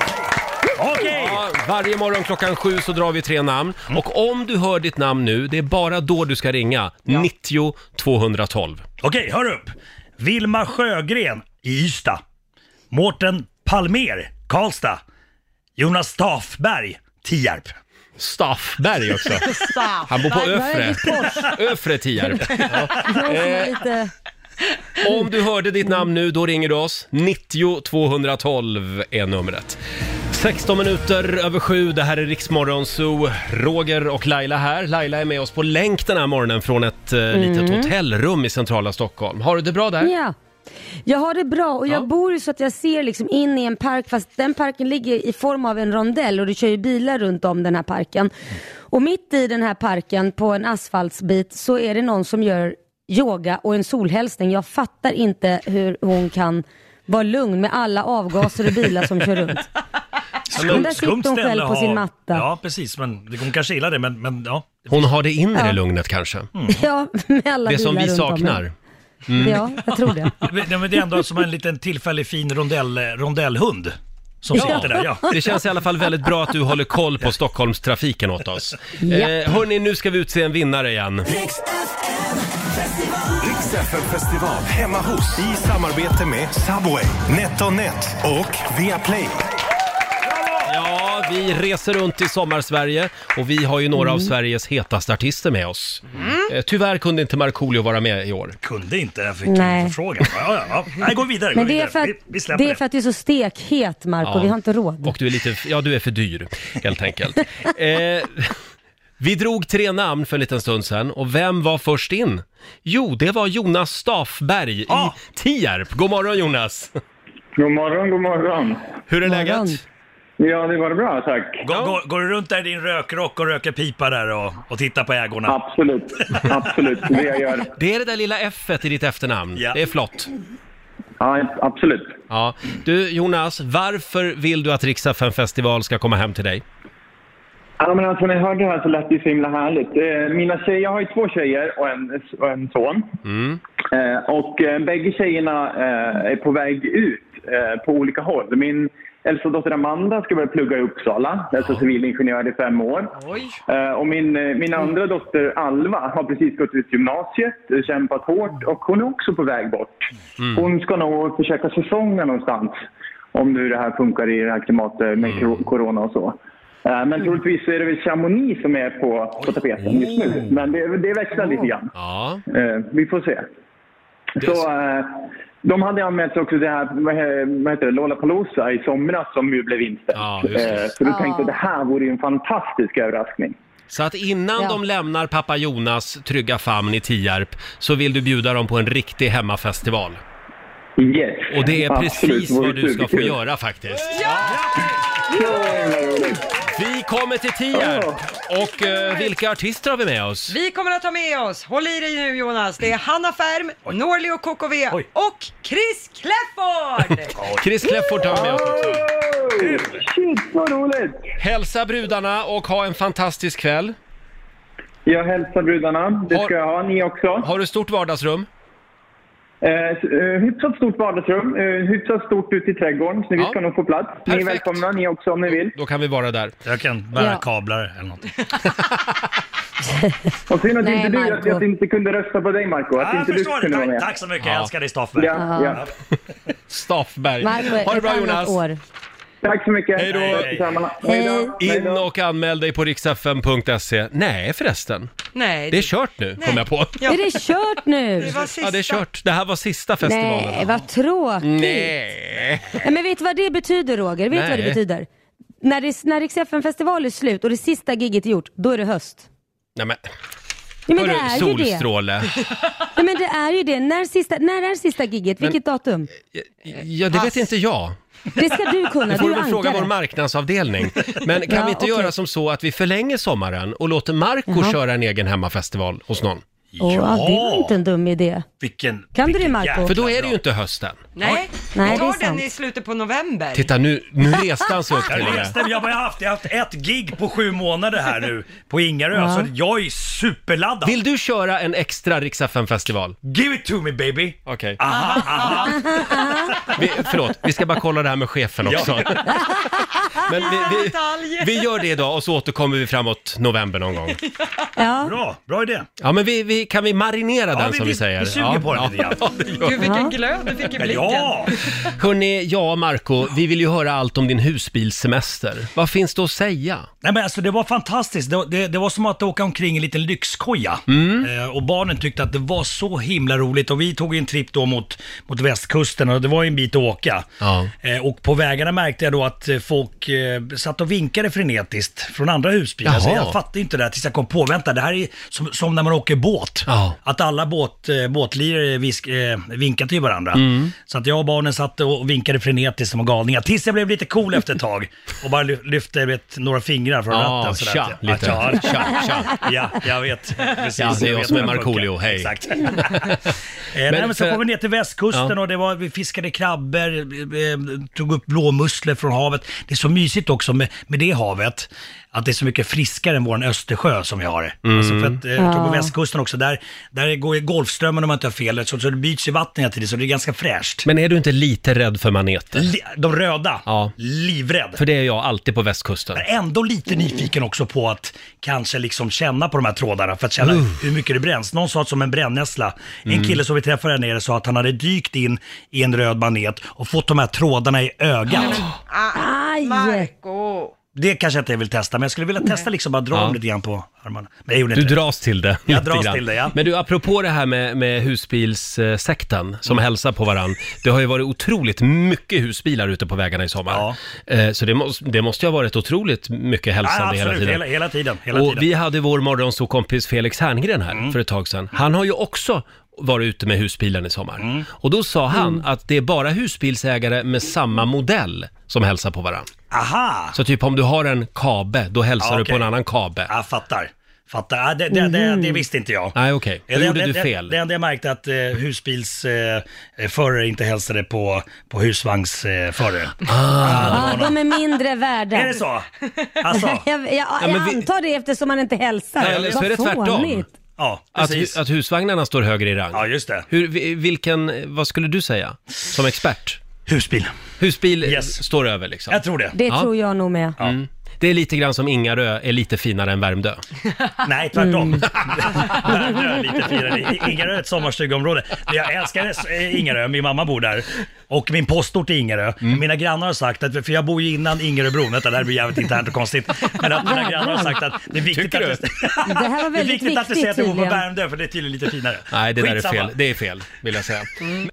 H: Okej!
A: Ja, varje morgon klockan sju så drar vi tre namn.
C: Mm.
A: Och om du hör ditt namn nu, det är bara då du ska ringa. 90 212.
H: Okej, hör upp! Vilma Sjögren i Ystad. Mårten Palmer, Karlstad. Jonas Staffberg, Tierp.
A: Staffberg också. Han bor på Öfre. Öfre Tierp.
D: Jag är lite...
A: Om du hörde ditt namn nu, då ringer du oss. 90 212 är numret. 16 minuter över sju, det här är Riksmorgon Zoo. Roger och Laila här. Laila är med oss på länk den här morgonen från ett eh, litet hotellrum i centrala Stockholm. Har du det bra där?
D: Ja. Jag har det bra och jag
A: Ja.
D: bor ju så att jag ser liksom in i en park fast den parken ligger i form av en rondell och det kör ju bilar runt om den här parken. Och mitt i den här parken på en asfaltsbit så är det någon som gör yoga och en solhälsning. Jag fattar inte hur hon kan vara lugn med alla avgaser och bilar som kör runt. Men där sitter hon
H: ställe
D: själv på
H: att
D: sin
H: ha-
D: matta.
H: Ja, precis. Men hon kanske gillar det, men, men ja.
A: Hon har det inre
D: Ja.
A: lugnet kanske.
D: Ja, med alla
A: Mm. Det
D: bilar
A: som vi
D: runt om den.
A: saknar. Mm.
D: Ja, jag tror det.
H: Men- Nej, men det är ändå som en liten tillfällig fin rondell, eh, rondellhund. Som sitter där, ja.
A: Det känns i alla fall väldigt bra att du håller koll på Stockholmstrafiken åt oss. Eh, hörni, nu ska vi utse en vinnare igen.
C: Riksfn festival hemma hos i samarbete med Subway, NetOnNet och Viaplay.
A: Ja, vi reser runt i sommarsverige och vi har ju några
H: Mm.
A: av Sveriges hetaste artister med oss. Eh, Tyvärr kunde inte Markoolio vara med i år.
H: Kunde inte, jag fick
D: Nej.
H: en fråga. Ja, ja, ja. Nej, gå vidare. Gå
D: Men det är
H: vidare.
D: för att,
H: vi, vi släpper
D: det är, för att du är så stekhet Marco,
A: Ja.
D: vi har inte råd.
A: Och du är lite, ja du är för dyr helt enkelt. Eh, Vi drog tre namn för en liten stund sedan och vem var först in? Jo, det var Jonas Staffberg
I: Ah!
A: i Tierp. God morgon Jonas!
G: God morgon, god morgon.
A: Hur är
D: Morgon.
A: läget?
G: Ja, det var bra, tack.
I: Går, går, går du runt där i din rökrock och röker pipa där och, och tittar på ägorna?
G: Absolut, absolut. Det jag gör.
A: Det är det där lilla F i ditt efternamn.
I: Ja.
A: Det är flott.
G: Ja, absolut.
A: Ja. Du Jonas, varför vill du att Riksa festival ska komma hem till dig?
G: Ja, men alltså, när jag hörde det här så lät det ju så himla härligt. Eh, mina tjejer, jag har ju två tjejer och en, och en son. Eh, och eh, bägge tjejerna eh, är på väg ut eh, på olika håll. Min äldsta dotter Amanda ska börja plugga i Uppsala, alltså civilingenjör i fem år.
B: Oj.
G: Eh, och min, eh, min
A: Mm.
G: andra dotter Alva har precis gått ut gymnasiet, eh, kämpat hårt och hon är också på väg bort.
A: Mm.
G: Hon ska nog försöka säsonga någonstans om nu det här funkar i det här klimatet
A: Mm.
G: med kro- corona och så. Eh, Men troligtvis så är det väl Chamonix som är på, på tapeten just nu. Men det, det växlar lite grann.
A: Mm. Ja.
G: Eh, vi får se. Så, eh, de hade anmält sig också till det här, vad he- vad heter det, Lollapalooza i somras som ju blev inställt.
A: Ja, just det.
G: Eh, så då tänkte jag det här vore ju en fantastisk överraskning.
A: Så att innan
D: Ja.
A: de lämnar pappa Jonas trygga famn i Tierp så vill du bjuda dem på en riktig hemmafestival.
G: Yes.
A: Och det är
G: Absolut,
A: precis
G: vore
A: vad du ska få
G: superkul.
A: göra faktiskt.
G: Så himla roligt.
A: Vi kommer till Tierp! Och eh, vilka artister har vi med oss?
B: Vi kommer att ta med oss, håll i dig nu Jonas, det är
A: Mm.
B: Hanna Färm, Norli och KKV
I: Oj.
B: och Chris Clafford!
A: Chris Clefford har vi med oss också.
G: Oh, Shit vad roligt!
A: Hälsa brudarna och ha en fantastisk kväll.
G: Jag hälsar brudarna. Det ska jag ha, ni också.
A: Har du stort vardagsrum?
G: Eh, s- eh, hyfsat stort vardagsrum, eh, hyfsat stort ute i trädgården, så vi
A: Ja.
G: ska nog få plats. Ni är
A: Perfekt.
G: välkomna ni också om ni vill.
A: Då kan vi vara där.
I: Jag kan bära
D: Ja.
I: kablar eller något.
G: Och synd att
D: Nej,
G: inte du, att
D: Marco.
G: jag inte kunde rösta på dig Marco. Att
I: Ah, jag
G: inte du
I: förstår det.
G: kunde vara
I: Tack,
G: med.
I: tack så mycket.
A: Ja.
I: Jag älskar dig Staffberg.
G: Ja, ja.
A: Staffberg.
D: Marco,
A: Ha det
D: ett
A: bra
D: annat
A: Jonas!
D: år.
G: Tack så mycket.
A: Hej då.
G: Tack detsamma.
D: Hej.
G: Hej då. Hej
A: In
G: då.
A: och anmäl dig på riksfm.se. Nej förresten,
B: Nej,
A: det är kört nu kom jag på.
B: Ja.
D: Är det kört nu?
B: det var sista.
A: Ja det är kört, det här var sista festivalen.
D: Nej, vad tråkigt.
A: Nej.
D: Nej, men vet du vad det betyder Roger? Vet du vad det
A: Nej.
D: betyder? När, det, när Rix festival är slut och det sista giget är gjort, då är det höst.
A: Nej men,
D: Ja, men det
A: hörru,
D: är ju det.
A: solstråle.
D: Ja, men det är ju det. När, sista, när är sista giget? Vilket datum?
A: Eh, Ja, det vet inte jag.
D: Det ska du kunna,
A: Det får
D: du
A: du
D: är
A: väl fråga vår
D: ankare.
A: marknadsavdelning. Men kan
D: Ja,
A: vi inte
D: okej.
A: göra som så att vi förlänger sommaren och låter Marco
D: Jaha.
A: köra en egen hemmafestival hos någon?
D: Åh, ja, det var inte en dum idé.
I: Vilken,
D: Kan du det,
I: vilken
D: Marco?
I: jäkla
A: För då är det
I: bra.
A: ju inte hösten.
B: Nej,
D: Nej,
B: vi
D: det är
B: tar den
D: sant.
B: i slutet på november.
A: Titta nu, nu reste han sig upp till och
I: Jag
A: med.
I: reste, jag har haft, jag har haft ett gig på sju månader här nu på Ingarö,
D: Ja.
I: så jag är superladdad.
A: Vill du köra en extra Rix festival
I: Give it to me baby!
A: Okej.
I: Aha, aha.
A: Vi, förlåt, vi ska bara kolla det här med chefen också. Men vi, vi,
B: Detaljer.
A: vi gör det idag och så återkommer vi framåt november någon gång.
D: Ja.
I: Bra, bra idé.
A: Ja, men vi, vi, kan vi marinera den
I: vi-
A: som vi,
I: vi-
A: säger?
I: vi suger
A: ja,
I: på den
A: ja.
I: lite grann.
A: Ja, det gör vi.
B: Gud vilken glöd du fick i blicken.
I: Ja!
A: Hörni, ja Marco, vi vill ju höra allt om din husbilssemester. Vad finns det att säga?
I: Nej men alltså det var fantastiskt. Det, det, det var som att åka omkring i en liten lyxkoja.
A: Mm.
I: Eh, och barnen tyckte att det var så himla roligt och vi tog en tripp då mot, mot västkusten och det var ju en bit att åka.
A: Ja.
I: Eh, och på vägarna märkte jag då att eh, folk eh, satt och vinkade frenetiskt från andra husbilar. Så
A: Jaha.
I: jag fattade inte det där tills jag kom på, vänta det här är som, som när man åker båt.
A: Ja.
I: Att alla båt, eh, båtlirare visk, eh, vinkar till varandra.
A: Mm.
I: Så att jag och barnen satt och vinkade frenetiskt som galningar. Tills jag blev lite cool efter ett tag och bara ly- lyfte vet, några fingrar från
A: Ja,
I: ratten. sådär.
A: tja, lite.
I: Ja,
A: Tja, tja.
I: Ja, jag vet. Precis,
A: Ja, det är jag
I: vet
A: som är
I: hur det
A: Markoolio,
I: funkar.
A: hej.
I: Exakt. Eh, Nej, men så
A: för-
I: kom vi ner till västkusten
A: Ja.
I: och det var, vi fiskade krabbor, eh, tog upp blåmusslor från havet. Det är så mysigt också med, med det havet, att det är så mycket friskare än vår Östersjö som vi har det. Alltså för att, eh, jag tror på
D: Ja.
I: västkusten också, där, där går ju Golfströmmen om jag inte har fel, så, så det byts ju vatten hela tiden, så det är ganska fräscht.
A: Men är du inte lite rädd för maneter?
I: Li, de röda,
A: Ja.
I: livrädd.
A: För det är jag alltid på västkusten.
I: Men ändå lite nyfiken också på att kanske liksom känna på de här trådarna för att känna hur mycket det bränns. Någon sa att som en brännässla. En
A: Mm.
I: kille som vi träffade här nere sa att han hade dykt in i en röd manet och fått de här trådarna i ögat.
B: Ah,
D: Aj!
B: Marco.
I: det kanske inte jag vill testa, men jag skulle vilja testa liksom bara dra
A: Ja.
I: om lite grann på armarna. Men jag gjorde
A: Du
I: inte det.
A: dras till det.
I: Jag
A: lite
I: dras
A: grann.
I: till det, ja.
A: Men du, apropå det här med, med husbilssekten
I: Mm.
A: som hälsar på varann. Det har ju varit otroligt mycket husbilar ute på vägarna i sommar. Eh, Så det, måste, det måste ju ha varit otroligt mycket hälsande
I: Ja,
A: hela
I: absolut,
A: tiden.
I: hela, hela tiden. Hela
A: och
I: tiden. Mm.
A: vi hade vår morgonsåkompis Felix Herngren här för ett tag sedan. Han har ju också varit ute med husbilen i sommar.
I: Mm.
A: Och då sa han att det är bara husbilsägare med samma modell som hälsar på varann.
I: Aha!
A: Så typ om du har en kabe, då hälsar
I: Ja,
A: du på
I: okej.
A: en annan kabe. Mm.
I: Jag fattar. Fattar. Ja, det, det, det, det visste inte jag.
A: Nej, okej. Då
I: det,
A: gjorde
I: det,
A: du
I: det-
A: fel.
I: Det enda jag märkte att eh, husbilsförare eh, förare inte hälsade på, på husvagnsförare. Ah. Eh, förare.
A: Ah.
D: Ja, de är mindre värda.
I: Är det så? Alltså,
D: Jag, jag, jag
A: men vi-
D: antar det eftersom man inte hälsar.
A: Eller så
D: Vad
A: är det tvärtom.
D: fånigt.
I: ja,
A: Att,
I: precis.
A: hu- att husvagnarna står högre i rang?
I: Ja, just det.
A: Hur, vi- vilken, vad skulle du säga som expert?
I: Husbil.
A: Husbil eh,
I: Yes.
A: står över liksom?
I: Jag tror det.
D: Det
A: Ja. Mm.
D: tror jag nog med.
A: Det är lite grann som Ingarö är lite finare än Värmdö.
I: Nej, tvärtom.
D: Mm.
I: Värmdö är lite finare. I- Ingarö är ett sommarstugområde. Jag älskar det- eh, Ingarö, min mamma bor där. Och min postort är Ingarö.
A: Mm.
I: Mina grannar har sagt, att, för jag bor ju innan Ingaröbron, vänta det här blir jävligt internt och konstigt. Men att mina grannar har sagt att det är viktigt
A: Tycker
I: att
A: du?
D: Det här var
I: det är
D: väldigt
I: viktigt att du säger att du bor på
D: tydligen.
I: Värmdö för det är tydligen lite finare.
A: Nej, det där är
I: Skitsamma.
A: fel. Det är fel, vill jag säga.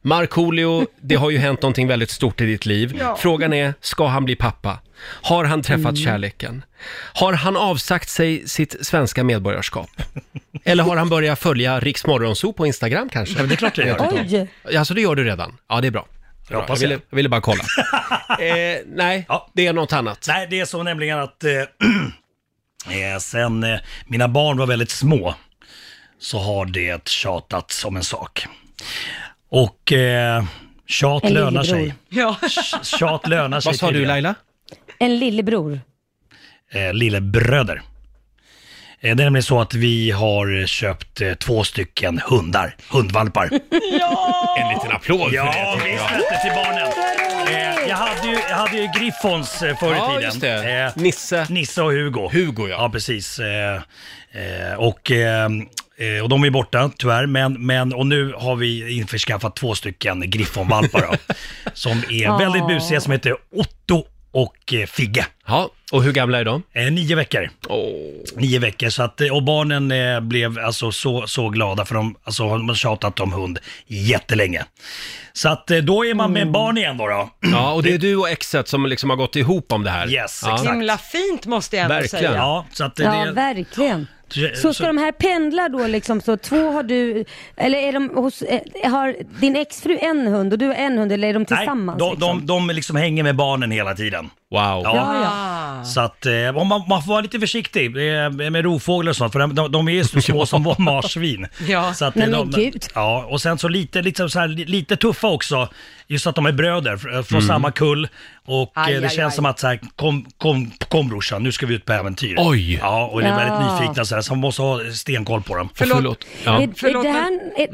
A: Markoolio, det har ju hänt någonting väldigt stort i ditt liv. Frågan är, ska han bli pappa? Har han träffat kärleken? Har han avsagt sig sitt svenska medborgarskap? Eller har han börjat följa Riks Morgonzoo på Instagram kanske?
I: Men det är klart jag gör.
D: Oj!
A: Alltså det gör du redan? Ja, det är bra.
I: Jag hoppas
A: ville,
I: det.
A: jag ville bara kolla. eh, nej,
I: Ja.
A: det är något annat.
I: Nej, det är så nämligen att eh, eh, sen eh, mina barn var väldigt små så har det tjatats om en sak. Och eh, tjat
D: En
I: lönar sig.
D: lillebror.
B: Ja.
I: Tjat lönar sig.
A: Vad sa du
I: tydligen.
A: Laila?
D: En lillebror.
I: eh, lillebröder. Eh, Det är nämligen så att vi har köpt eh, två stycken hundar, hundvalpar.
A: En liten applåd för
I: Ja,
A: tycker
I: visst
A: jag.
I: hette till barnen. Eh, Jag hade ju, jag hade ju Griffons eh, förr i
A: Ja,
I: tiden.
A: just det.
I: Eh,
A: Nisse.
I: Nisse och Hugo.
A: Hugo, ja.
I: Ja, precis. Eh, eh, och, eh, eh, och de är borta tyvärr, men, men och nu har vi införskaffat två stycken griffonvalpar då, som är
D: Ah.
I: väldigt busiga, som heter Otto och eh, Figge.
A: Ja, och hur gamla är de?
I: Eh, nio veckor. Nio veckor, så att, eh, och barnen eh, blev alltså så, så glada för de, alltså, de har tjatat om hund jättelänge. Så att eh, då är man med barn igen då. då.
A: Ja, och det är du och exet som liksom har gått ihop om det här.
I: Yes,
A: ja.
I: exakt.
B: Himla fint måste jag ändå
A: Verkligen.
B: säga.
I: Ja, så att det,
D: Ja,
I: det,
D: verkligen.
I: Så-
D: Så ska de här pendla då liksom så två har du, eller är de hos, eh, har din exfru en hund och du har en hund eller är de tillsammans?
I: Nej, de,
D: liksom?
I: de, de liksom hänger med barnen hela tiden.
A: Wow.
I: Ja.
D: Ja, ja.
I: Så att eh, om man, man får vara lite försiktig eh, med rovfåglar och sånt, för de, de är ju så små som var marsvin.
B: Ja.
I: Så att,
D: Nej,
I: eh,
D: men gud.
I: Ja, och sen så lite, liksom så här, li- lite tuffa också, just att de är bröder fr- från
A: Mm.
I: samma kull. Och
B: Aj,
I: eh, det
B: aj,
I: känns
B: aj.
I: som att så här, kom, kom, kom brorsan, nu ska vi ut på äventyr.
A: Oj.
I: Ja, och de är
D: Ja.
I: väldigt nyfikna så här, så man måste ha stenkoll på dem.
B: Förlåt.
A: Ja.
D: Är, är
B: Förlåt,
D: det
B: men-
D: här, är,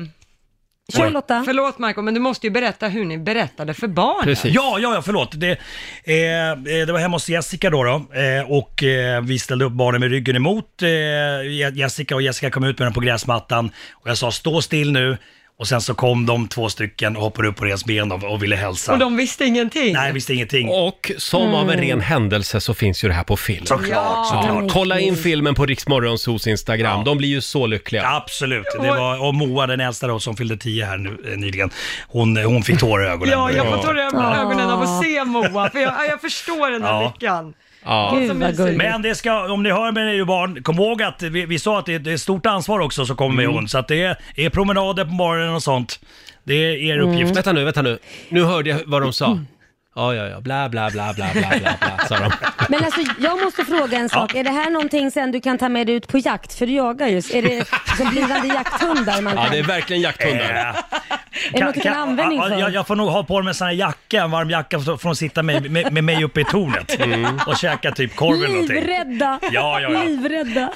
D: kör Lotta.
B: Förlåt Marco, men du måste ju berätta hur ni berättade för barnen.
A: Precis.
I: Ja, ja, ja, förlåt. Det, eh, eh, det var hemma hos Jessica då, då eh, och eh, vi ställde upp barnen med ryggen emot eh, Je- Jessica och Jessica kom ut med den på gräsmattan och jag sa stå still nu och sen så kom de två stycken och hoppade upp på deras ben och, och ville hälsa.
B: Och de visste ingenting.
I: Nej, visste ingenting.
A: Och som av en ren händelse så finns ju det här på film.
I: Såklart, såklart.
A: Ja, kolla in filmen på Riksmorgonsos Instagram. De blir ju så lyckliga.
I: Absolut. Det var, och Moa, den äldsta då, som fyllde 10 här nu, eh, nyligen, hon, hon fick tårar i ögonen.
B: Ja, jag får
I: Ja.
B: ta det över ögonen av att se Moa, för jag, jag förstår den här
I: Ja.
B: lyckan.
A: Ja.
D: Gud
B: Som
D: vad
B: mysigt.
D: gulligt.
I: Men det ska, om ni hör med er barn, kom ihåg att vi, vi sa att det, det är stort ansvar också som kommer med
D: Mm.
I: hund. Så att det är, är promenader på morgonen och sånt. Det är er
D: Mm.
I: uppgift.
A: Vänta nu, vänta nu. Nu hörde jag vad de sa. Ja, ja, ja. Bla, bla, bla, bla, bla, bla, bla, sa de.
D: Men alltså jag måste fråga en sak. Är det här någonting sen du kan ta med dig ut på jakt? För du jagar ju. Är det som blivande jakthundar man kan?
A: Ja, det är verkligen jakthundar.
I: Eh,
D: Är det något du kan ha användning
I: ja,
D: för?
I: jag, jag får nog ha på mig en sån här jacka, en varm jacka, för för att sitta med, med, med mig uppe i tornet
A: Mm.
I: och käka typ korv eller någonting.
D: Livrädda!
I: Ja, ja, ja.
D: Livrädda!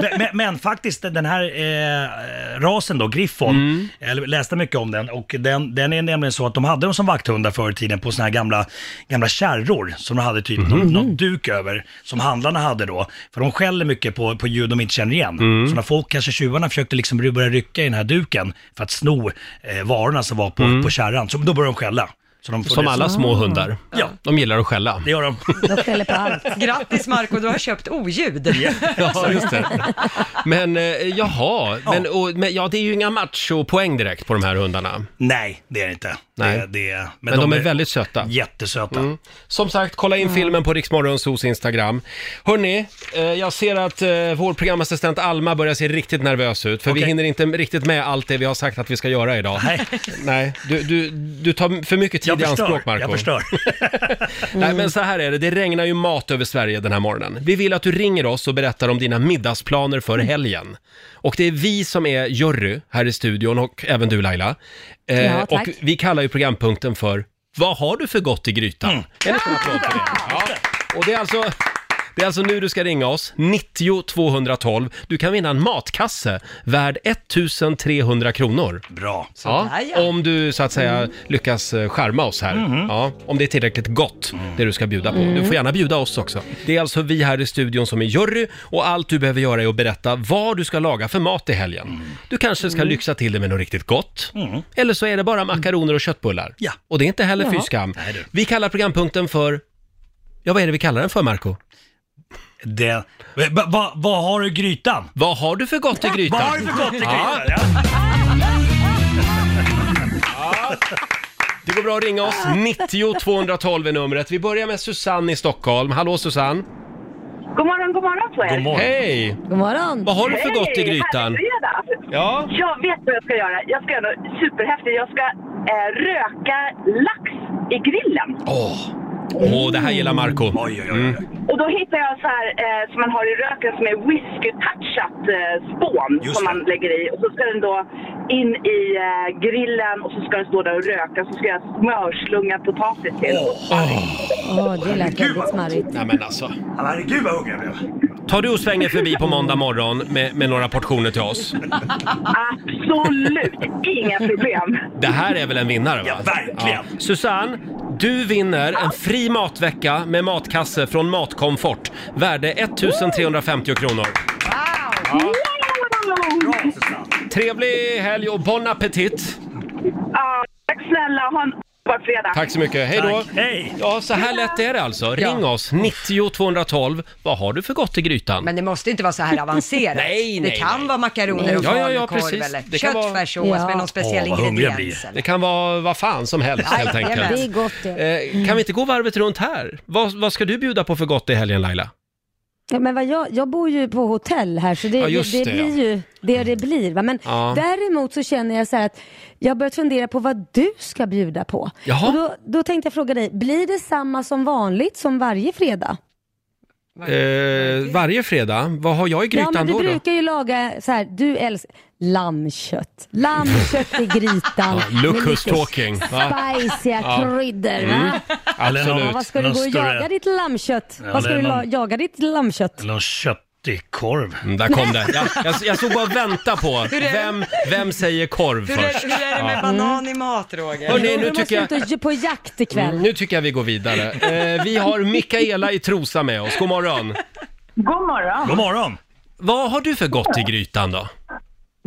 I: Men, men, men faktiskt den här eh, rasen då, Griffon,
A: Mm.
I: jag läste mycket om den och den, den är nämligen så att de hade dem som vakthundar förr i tiden på såna här gamla, gamla kärror som de hade
A: Mhm.
I: typ någon, någon duk över som handlarna hade då. För de skäller mycket på, på ljud de inte känner igen.
A: Mm.
I: Så när folk, kanske tjuvarna, försökte liksom börja rycka i den här duken för att sno eh, varorna som var på, på kärran, så då började de skälla. Så de får
A: Mm. Som
I: det-
A: alla små hundar.
I: Ja,
A: De gillar att skälla.
I: det gör de.
D: De skäller på allt.
B: Grattis Marco, du har köpt oljud.
A: Ja, just det. Men eh, jaha, Men, och, men ja, det är ju inga machopoäng direkt på de här hundarna. Men,
I: Nej, det är det inte.
A: Nej.
I: Det, det, men,
A: de, är, väldigt söta. Mm.
I: jättesöta. Mm.
A: Som sagt, kolla in filmen på Riksmorgonsos Instagram. Hörni, eh, jag ser att eh, vår programassistent Alma börjar se riktigt nervös ut, för vi
I: Okej.
A: hinner inte riktigt med allt det vi har sagt att vi ska göra idag.
I: Nej.
A: Nej, du, du, du tar för mycket tid
I: Jag
A: i
I: förstör.
A: anspråk, Marco.
I: Jag förstör.
A: Nej,
D: Mm.
A: men så här är det. Det regnar ju mat över Sverige den här morgonen. Vi vill att du ringer oss och berättar om dina middagsplaner för
D: Mm.
A: helgen. Och det är vi som är jury här i studion och även du Laila. Eh,
D: Ja, tack.
A: och vi kallar ju programpunkten för Vad har du för gott i grytan?
D: Mm.
A: En liten applåd för det. Ja. Och det är alltså... Det är alltså nu du ska ringa oss, 90 212. Du kan vinna en matkasse värd 1300 kronor.
I: Bra.
A: Ja,
B: Sådär, ja.
A: om du så att säga lyckas eh, charma oss här.
I: Mm.
A: Ja, om det är tillräckligt gott, det du ska bjuda på. Du får gärna bjuda oss också. Det är alltså vi här i studion som är jury och allt du behöver göra är att berätta vad du ska laga för mat i helgen.
I: Mm.
A: Du kanske ska lyxa till det med något riktigt gott. Eller så är det bara makaroner och köttbullar.
I: Ja.
A: Och det är inte heller fy skam.
I: Nej, du.
A: Vi kallar programpunkten för Ja, vad är det vi kallar den för, Marco?
I: Det, va, va, vad har du i grytan?
A: Vad har du för gott i grytan?
I: Vad har du för gott i grytan? Ja.
A: Det går bra att ringa oss. 90 212 är numret. Vi börjar med Susanne i Stockholm. Hallå Susanne!
J: God morgon, god morgon på er.
I: God morgon.
A: Hej!
D: God morgon.
A: Vad har du för gott i
J: Hej,
A: grytan?
J: härlig fredag.
A: Ja.
J: Jag vet vad jag ska göra. Jag ska göra något superhäftigt. Jag ska eh, röka lax i grillen.
A: Åh, Åh, det här gillar Marco. Mm.
I: Oj, oj, oj. oj.
J: Och då hittar jag så här eh, som man har i röken som är whisky-touchat eh, spån
I: Just
J: som
I: det.
J: man lägger i. Och så ska den då in i eh, grillen och så ska den stå där och röka. Så ska jag smörslunga potatis till.
D: Åh, det lät väldigt smarrigt.
A: Nej men alltså.
I: Ja, Herregud vad hungrig jag blev.
A: Tar du och svänger förbi på måndag morgon med, med några portioner till oss?
J: Absolut inga problem.
A: Det här är väl en vinnare va?
I: Ja, verkligen.
A: Susanne, du vinner en fri matvecka med matkasse från Matkomfort. Värde 1350 kronor.
I: Bra Susanne.
A: Trevlig helg och bon appetit!
J: Ja, tack snälla. Ha en underbar fredag.
A: Tack så mycket, hej då!
I: Tack. Hej.
A: Ja, så här lätt är det alltså. Ring oss, 90 212. Vad har du för gott i grytan?
B: Men det måste inte vara så här avancerat.
A: Nej,
B: det
A: nej,
B: kan
A: nej.
B: vara makaroner och
A: Ja, ja, ja,
B: falukorv
A: precis.
B: eller
A: Det kan vara-
B: köttfärssås med någon speciell
I: Åh, vad hungrig jag
B: ingrediens.
I: blir.
B: eller-
A: Det kan vara vad fan som helst helt
B: Jajamän.
A: enkelt.
D: Det är gott det.
A: Eh, kan vi inte gå varvet runt här? Vad, vad ska du bjuda på för gott i helgen Laila?
D: Ja, men vad jag, jag bor ju på hotell här så det,
A: Ja, just
D: det, det,
A: det, ja.
D: blir ju det det blir. Va? Men
A: Ja.
D: däremot så känner jag så här att jag har börjat fundera på vad du ska bjuda på.
A: Jaha.
D: Och då, då tänkte jag fråga dig, blir det samma som vanligt som varje fredag?
A: Eh, varje fredag, vad har jag i grytan
D: ja men du
A: då? då?
D: brukar ju laga så här, du älskar lammkött. Lammkött i grytan.
A: Ja, look
D: med
A: who's
D: lite
A: talking, va? Mm.
D: Spicea kryddor. Va? Ja,
A: Absolut.
D: vad ska du
I: någon
D: gå och
I: större-
D: jaga ditt lammkött?
I: Ja,
D: vad ska
I: det
D: du
I: är
D: la-
I: någon-
D: jaga ditt lammkött?
I: Någon köttig korv.
A: Mm, där kom det. Jag, jag, jag såg bara vänta på
B: är det?
A: vem, vem säger korv
B: Hur är,
A: först.
B: hur är det med banan i mat, Roger?
A: Mm. Hörrni,
D: Jo,
A: nu
D: du måste
A: tycker jag...
D: ut och j- på jakt ikväll.
A: Mm, Nu tycker jag vi går vidare. Eh, vi har Mikaela i Trosa med oss. God morgon.
J: God morgon.
I: God morgon.
A: Vad har du för gott i grytan då?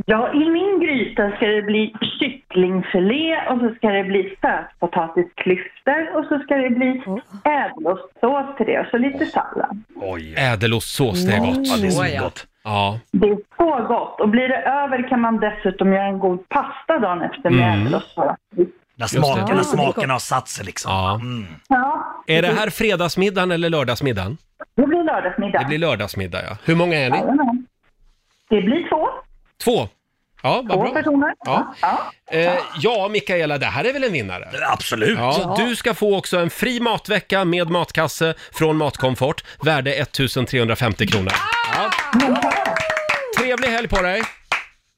J: Ja, i min gryta ska det bli kycklingfilé och så ska det bli sötpotatisklyftor och så ska det bli ädelostsås till det och så lite sallad.
I: Oj.
A: Ädelostsås, det är
I: Ja,
A: gott.
I: det är
B: Åh,
I: så
B: ja.
I: gott.
A: Ja.
J: Det är så gott och blir det över kan man dessutom göra en god pasta dagen efter med
K: Mm.
J: ädelostsås.
I: När
D: Ja,
I: smakerna,
D: det är
I: smakerna
D: gott.
I: har satt sig liksom.
A: Ja.
I: Mm.
J: Ja,
A: Är det här fredagsmiddagen eller lördagsmiddagen?
J: det blir lördagsmiddag.
A: Det blir lördagsmiddag, ja. Hur många är ni?
J: Jajamän. det blir två,
A: Två. Ja, vad
J: två
A: bra.
J: personer.
A: Ja.
J: Ja.
A: Eh, ja, Mikaela, det här är väl en vinnare?
I: Absolut.
A: Ja, du ska få också en fri matvecka med matkasse från Matkomfort, värde 1350 kronor. Ja. Trevlig helg på dig!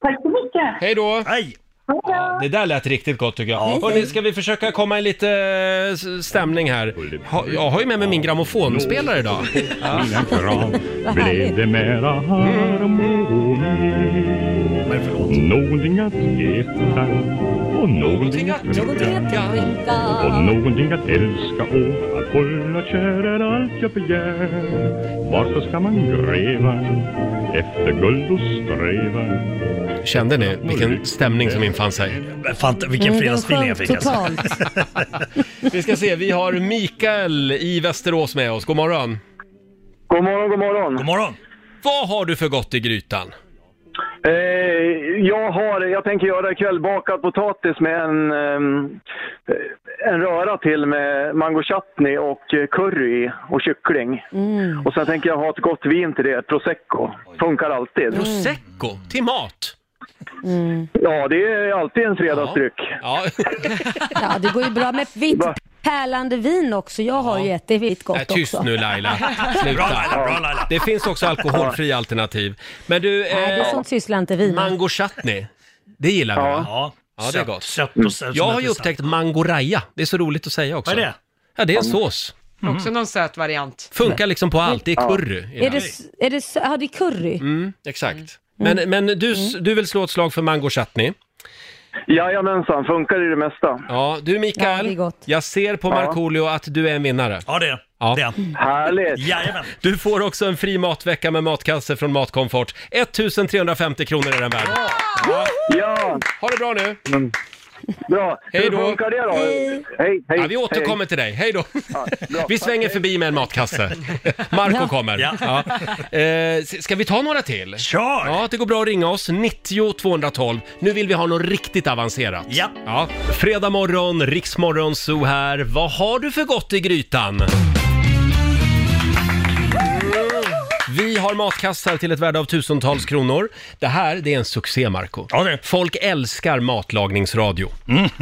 J: Tack så mycket.
A: Hej då!
I: Nej.
A: Ja, det där lät riktigt gott tycker jag. Hörrni, ska vi försöka komma i lite eh, s- stämning här? Ha, jag har ju med mig min grammofonspelare idag.
D: Vad härligt.
H: det mera harmoni Någonting att ge tack
L: och någonting att dricka och någonting att älska och att hålla kär är allt jag begär. Varför ska man gräva efter guld och sträva?
A: Kände ni vilken stämning som infann sig?
I: Fant vilken fredagsfeeling jag fick alltså.
A: Vi ska se, vi har Mikael i Västerås med oss. God morgon.
M: God morgon, god morgon.
I: God morgon.
A: Vad har du för gott i grytan?
M: Eh, jag, har, jag tänker göra ikväll bakad potatis med en, ehm, en röra till med mango chutney och eh, curry i och kyckling. Och sen tänker jag ha ett gott vin till det, prosecco. Funkar alltid.
A: Mm. Prosecco? Till mat?
M: Ja, det är alltid en fredagsdryck.
A: Ja.
D: Ja, det går ju bra med vitt pärlande vin också. Jag har ju ett, det är vitt gott
A: Nej, tyst
D: också.
A: nu Laila. Sluta.
D: Bra, Laila, bra, Laila.
A: Det finns också alkoholfria alternativ. Men du,
D: Nej, det är
A: eh,
D: sånt sysslar inte vi med.
A: mango chutney, det gillar vi va?
I: Ja.
A: Ja, det är gott.
I: Sött
A: Mm.
I: och sött
A: Jag
I: som
A: har ju
I: heter
A: upptäckt mangoraya. Det är så roligt att säga också.
I: Vad är det?
A: Ja, det är en sås.
B: Mm. Också någon söt variant.
A: Funkar liksom på allt. Det är curry. i
D: Är
A: den.
D: det, är det, sö- ja, det är curry.
A: Mm, exakt. Men, men du, s-
D: Mm.
A: du vill slå ett slag för mango chutney?
M: Jajamensan, funkar i det mesta.
A: Ja, du
D: Ja, det är
A: Mikael,
D: gott.
A: jag ser på
M: Ja.
A: Markoolio att du är en vinnare.
I: Ja, det är
A: Ja.
I: det. är han.
M: Härligt!
I: Jajamän.
A: Du får också en fri matvecka med matkasse från Matkomfort. 1350 kronor är den värd.
M: Ja,
A: Ha det bra nu!
M: bra.
A: Hej då.
M: Hur funkar det då? Hej, hej.
A: Ja, vi återkommer till dig, hej då!
M: bra.
A: Vi svänger förbi med en matkasse. Marco
D: Ja.
A: kommer.
I: Ja.
A: Ja. Eh, s- ska vi ta några till?
I: Kör!
A: Ja, det går bra att ringa oss, 90 212. Nu vill vi ha något riktigt avancerat.
I: Ja.
A: ja. Fredag morgon, Riksmorgon Zoo här. Vad har du för gott i grytan? Vi har matkassar till ett värde av tusentals kronor. Det här, det är en succé, Marco.
I: Ja, det är det.
A: Folk älskar matlagningsradio.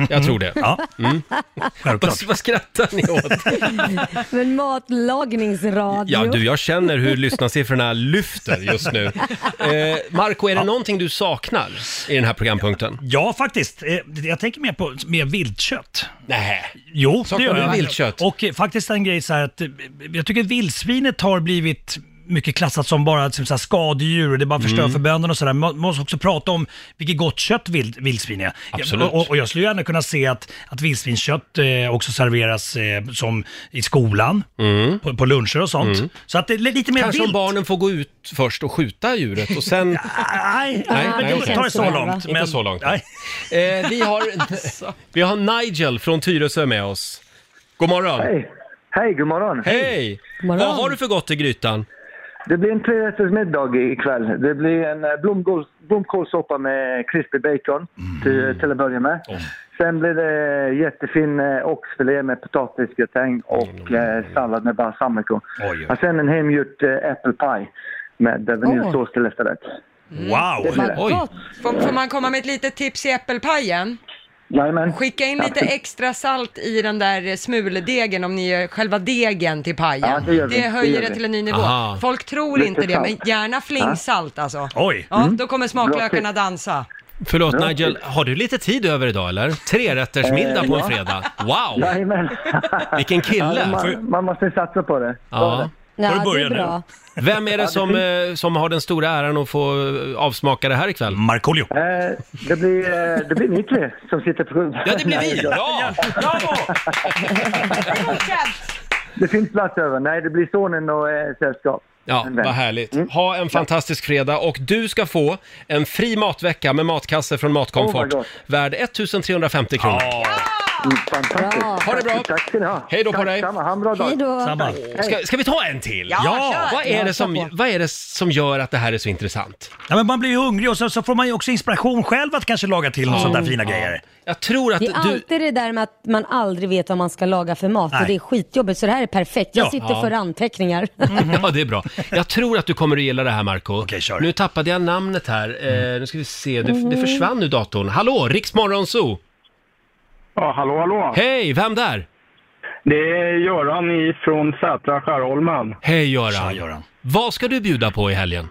A: Jag tror det. Mm.
I: Ja. Självklart.
A: Vad, vad skrattar ni åt?
D: Men matlagningsradio.
A: Ja, du, jag känner hur lyssnarsiffrorna lyfter just nu. Eh, Marco, är det någonting du saknar i den här programpunkten?
I: Ja, faktiskt. Eh, Jag tänker mer på mer viltkött.
A: Nej.
I: Jo,
A: Saknar du viltkött?
I: Och eh, faktiskt en grej så här att eh, jag tycker vildsvinet har blivit mycket klassat som bara som så här skadedjur och det bara förstör
A: Mm.
I: för bönderna och sådär. Man måste också prata om vilket gott kött vild, vildsvin är.
A: Absolut.
I: Och, och jag skulle gärna kunna se att, att vildsvinskött eh, också serveras eh, som i skolan, på, på luncher och sånt. Så att det är lite mer
A: Mm. Kanske om
I: vilt.
A: barnen får gå ut först och skjuta djuret och sen...
I: Nej,
A: Nej,
I: men
A: nej,
I: det
A: okej.
I: tar ju så
D: Inte
I: långt.
A: Inte så långt.
I: Nej.
A: Eh, vi, har, vi har Nigel från Tyresö med oss. God morgon. Hej.
N: Hej! Hej, god morgon!
D: God morgon.
A: Vad har du för gott i grytan?
N: Det blir en trerättersmiddag i- ikväll. Det blir en eh, blomkåls, blomkålssoppa med crispy bacon till, till att börja med. Sen blir det jättefin eh, oxfilé med potatisgratäng och eh, sallad med balsamico.
I: Oj,
N: Och sen en hemgjord eh, apple pie med eh, vaniljsås till efterrätt.
I: Wow!
N: blir det.
D: Vad gott.
B: Får, får man komma med ett litet tips i äppelpajen?
N: Jajamän.
B: Skicka in lite extra salt i den där eh, smuldegen om ni gör själva degen till pajen.
N: Ja, det gör vi. Det
B: höjer
N: gör
B: det,
N: vi.
B: till en ny nivå.
A: Aha.
B: Folk tror
N: Lite
B: inte det,
N: salt. Mm.
B: men gärna flingsalt alltså.
I: Oj!
B: Ja, då kommer
N: Bra
B: smaklökarna
N: tips.
B: dansa.
A: Förlåt
N: Ja.
A: Nigel, har du lite tid över idag eller? Trerättersmiddag på en fredag. Wow!
N: Eh, Jajamän.
A: Vilken
N: Ja,
A: kille!
N: man, man måste satsa på det.
A: Ja.
I: Får du
D: Ja, det
I: börja
D: är
I: nu?
D: bra.
A: Vem är det som, eh, som har den stora äran att få eh, avsmaka det här ikväll?
I: Markoolio.
N: Eh, det, blir, eh, det blir ni tre som sitter på...
A: Ja, det blir vi! Ja!
I: Bravo!
N: Det finns plats över. Nej, det blir sonen och eh, sällskap.
A: Ja,
N: En vän. Mm.
A: vad härligt. Ha en fantastisk fredag och du ska få en fri matvecka med matkasse från
N: Oh my
A: Matkomfort.
N: God.
A: värd 1350 kronor.
N: Mm, Fantastiskt.
D: Bra.
A: Ha det bra.
N: Tack ska ni ha.
A: Hej då på
N: Tack,
A: dig.
N: Samma, ha en bra dag.
D: Hej då.
I: Samma.
A: Ska, ska vi ta en till?
B: Ja, Ja. kör.
A: Vad är,
D: Ja,
A: det
D: kör
A: som,
D: på.
A: vad är det som gör att det här är så intressant?
I: Ja, men man blir ju hungrig och så, så får man ju också inspiration själv att kanske laga till något sånt där fina grejer.
A: Jag tror att
D: Det är
A: du...
D: alltid det där med att man aldrig vet vad man ska laga för mat
I: Nej.
D: och det är skitjobbigt så det här är perfekt. Jag
I: Ja.
D: sitter
A: Ja.
D: för anteckningar.
M: Mm.
A: Ja, det är bra. Jag tror att du kommer att gilla det här, Marco.
I: Okej, kör.
A: Nu tappade jag namnet här.
M: Mm.
A: Eh, nu ska vi se, det, det försvann nu datorn. Hallå, Riksmorgonzoo!
M: Ja, hallå, hallå.
A: Hej, vem där?
M: Det är Göran från Sätra Skärholmen.
I: Tja,
A: Hej Göran.
I: Göran.
A: Vad ska du bjuda på i helgen?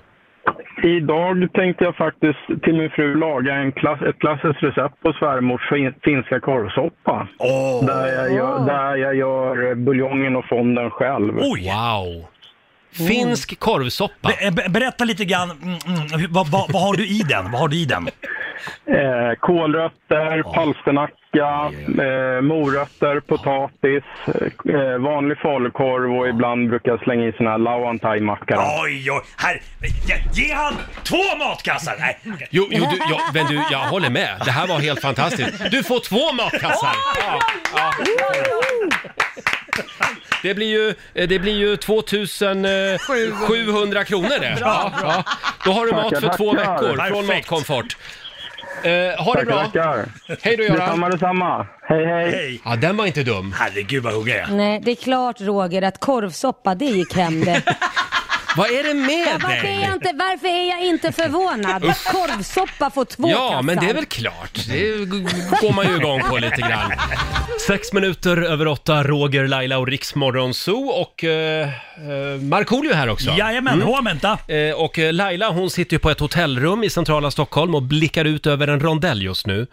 M: Idag tänkte jag faktiskt till min fru laga en klass, ett klassiskt recept på svärmors fin- finska korvsoppa.
I: Åh!
M: Där jag, gör, där jag gör buljongen och fonden själv.
I: Oj!
A: Wow! Finsk korvsoppa.
I: mm, Be- be- Berätta lite grann, mm, mm, vad, vad, vad har du i den? Vad har du i den?
O: Eh, kålrötter, palsternacka, eh, morötter, potatis, eh, vanlig falukorv och ibland brukar jag slänga i såna här lauantai-mackar.
I: Oj, oj, här! Ge, ge han två matkassar! Nej.
A: Jo, jo du, jag, men du, jag håller med. Det här var helt fantastiskt. Du får två matkassar! Ja, ja. Det blir ju, eh, det blir ju 2700 kronor det.
H: Bra, bra.
A: Ja. Då har du mat
O: Tackar,
A: för två
O: tackar.
A: veckor från
O: Perfekt.
A: Matkomfort. Eh, ha det bra! Hej då
O: Detsamma,
A: Göran!
O: detsamma. Hej, hej.
A: Ja, den var inte dum.
I: Herregud vad hungrig jag
D: Nej, det är klart Roger att korvsoppa, det gick hem det.
A: Vad är det med
D: Ja, varför,
A: dig?
D: är jag inte, varför är jag inte förvånad?
A: Uff.
D: Korvsoppa får två
A: Ja,
D: kassar.
A: men det är väl klart. Det g- går man ju igång på lite grann. Sex minuter över åtta, Roger, Laila och Riksmorgon Zoo och eh, eh, Markoolio här också.
I: Jajamän, hå vänta.
A: Eh, och eh, Laila hon sitter ju på ett hotellrum i centrala Stockholm och blickar ut över en rondell just nu.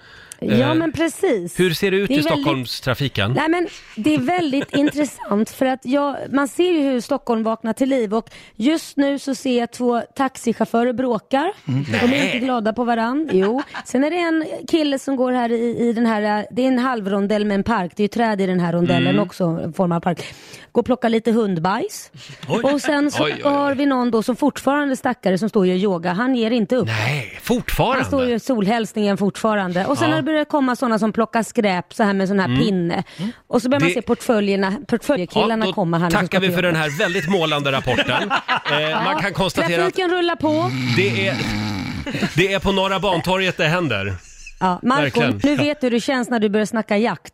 A: Eh,
D: Ja, men precis.
A: Hur ser det ut
D: Det är
A: i
D: väldigt-
A: Stockholmstrafiken?
D: Nej men det är väldigt intressant för att jag, man ser ju hur Stockholm vaknar till liv och just nu så ser jag två taxichaufförer bråkar.
H: Mm.
D: De är
H: Nej.
D: inte glada på varann. Jo. Sen är det en kille som går här i, i den här, det är en halvrondell med en park, det är ju träd i den här rondellen
H: Mm.
D: också, en form av park. Går och plockar lite hundbajs.
H: Oj.
D: Och sen så
H: Oj, oj, oj.
D: har vi någon då som fortfarande stackare som står och gör yoga, han ger inte upp.
A: Nej, fortfarande?
D: Han står ju i solhälsningen fortfarande. Och sen
A: Ja.
D: har det börjat komma sådana som plockar skräp så här med sån här
A: Mm.
D: pinne. Och så börjar man
A: Det-
D: se portföljerna, portföljkillarna
A: då
D: komma här. nu som ska
A: tackar vi
D: till
A: för den
D: jobbet.
A: här väldigt målande rapporten. Eh, man kan konstatera att
D: Trafiken rullar på.
A: det är, det är på Norra Bantorget det händer.
D: Ja, Marco,
A: Verkligen.
D: nu vet du hur det känns när du börjar snacka jakt.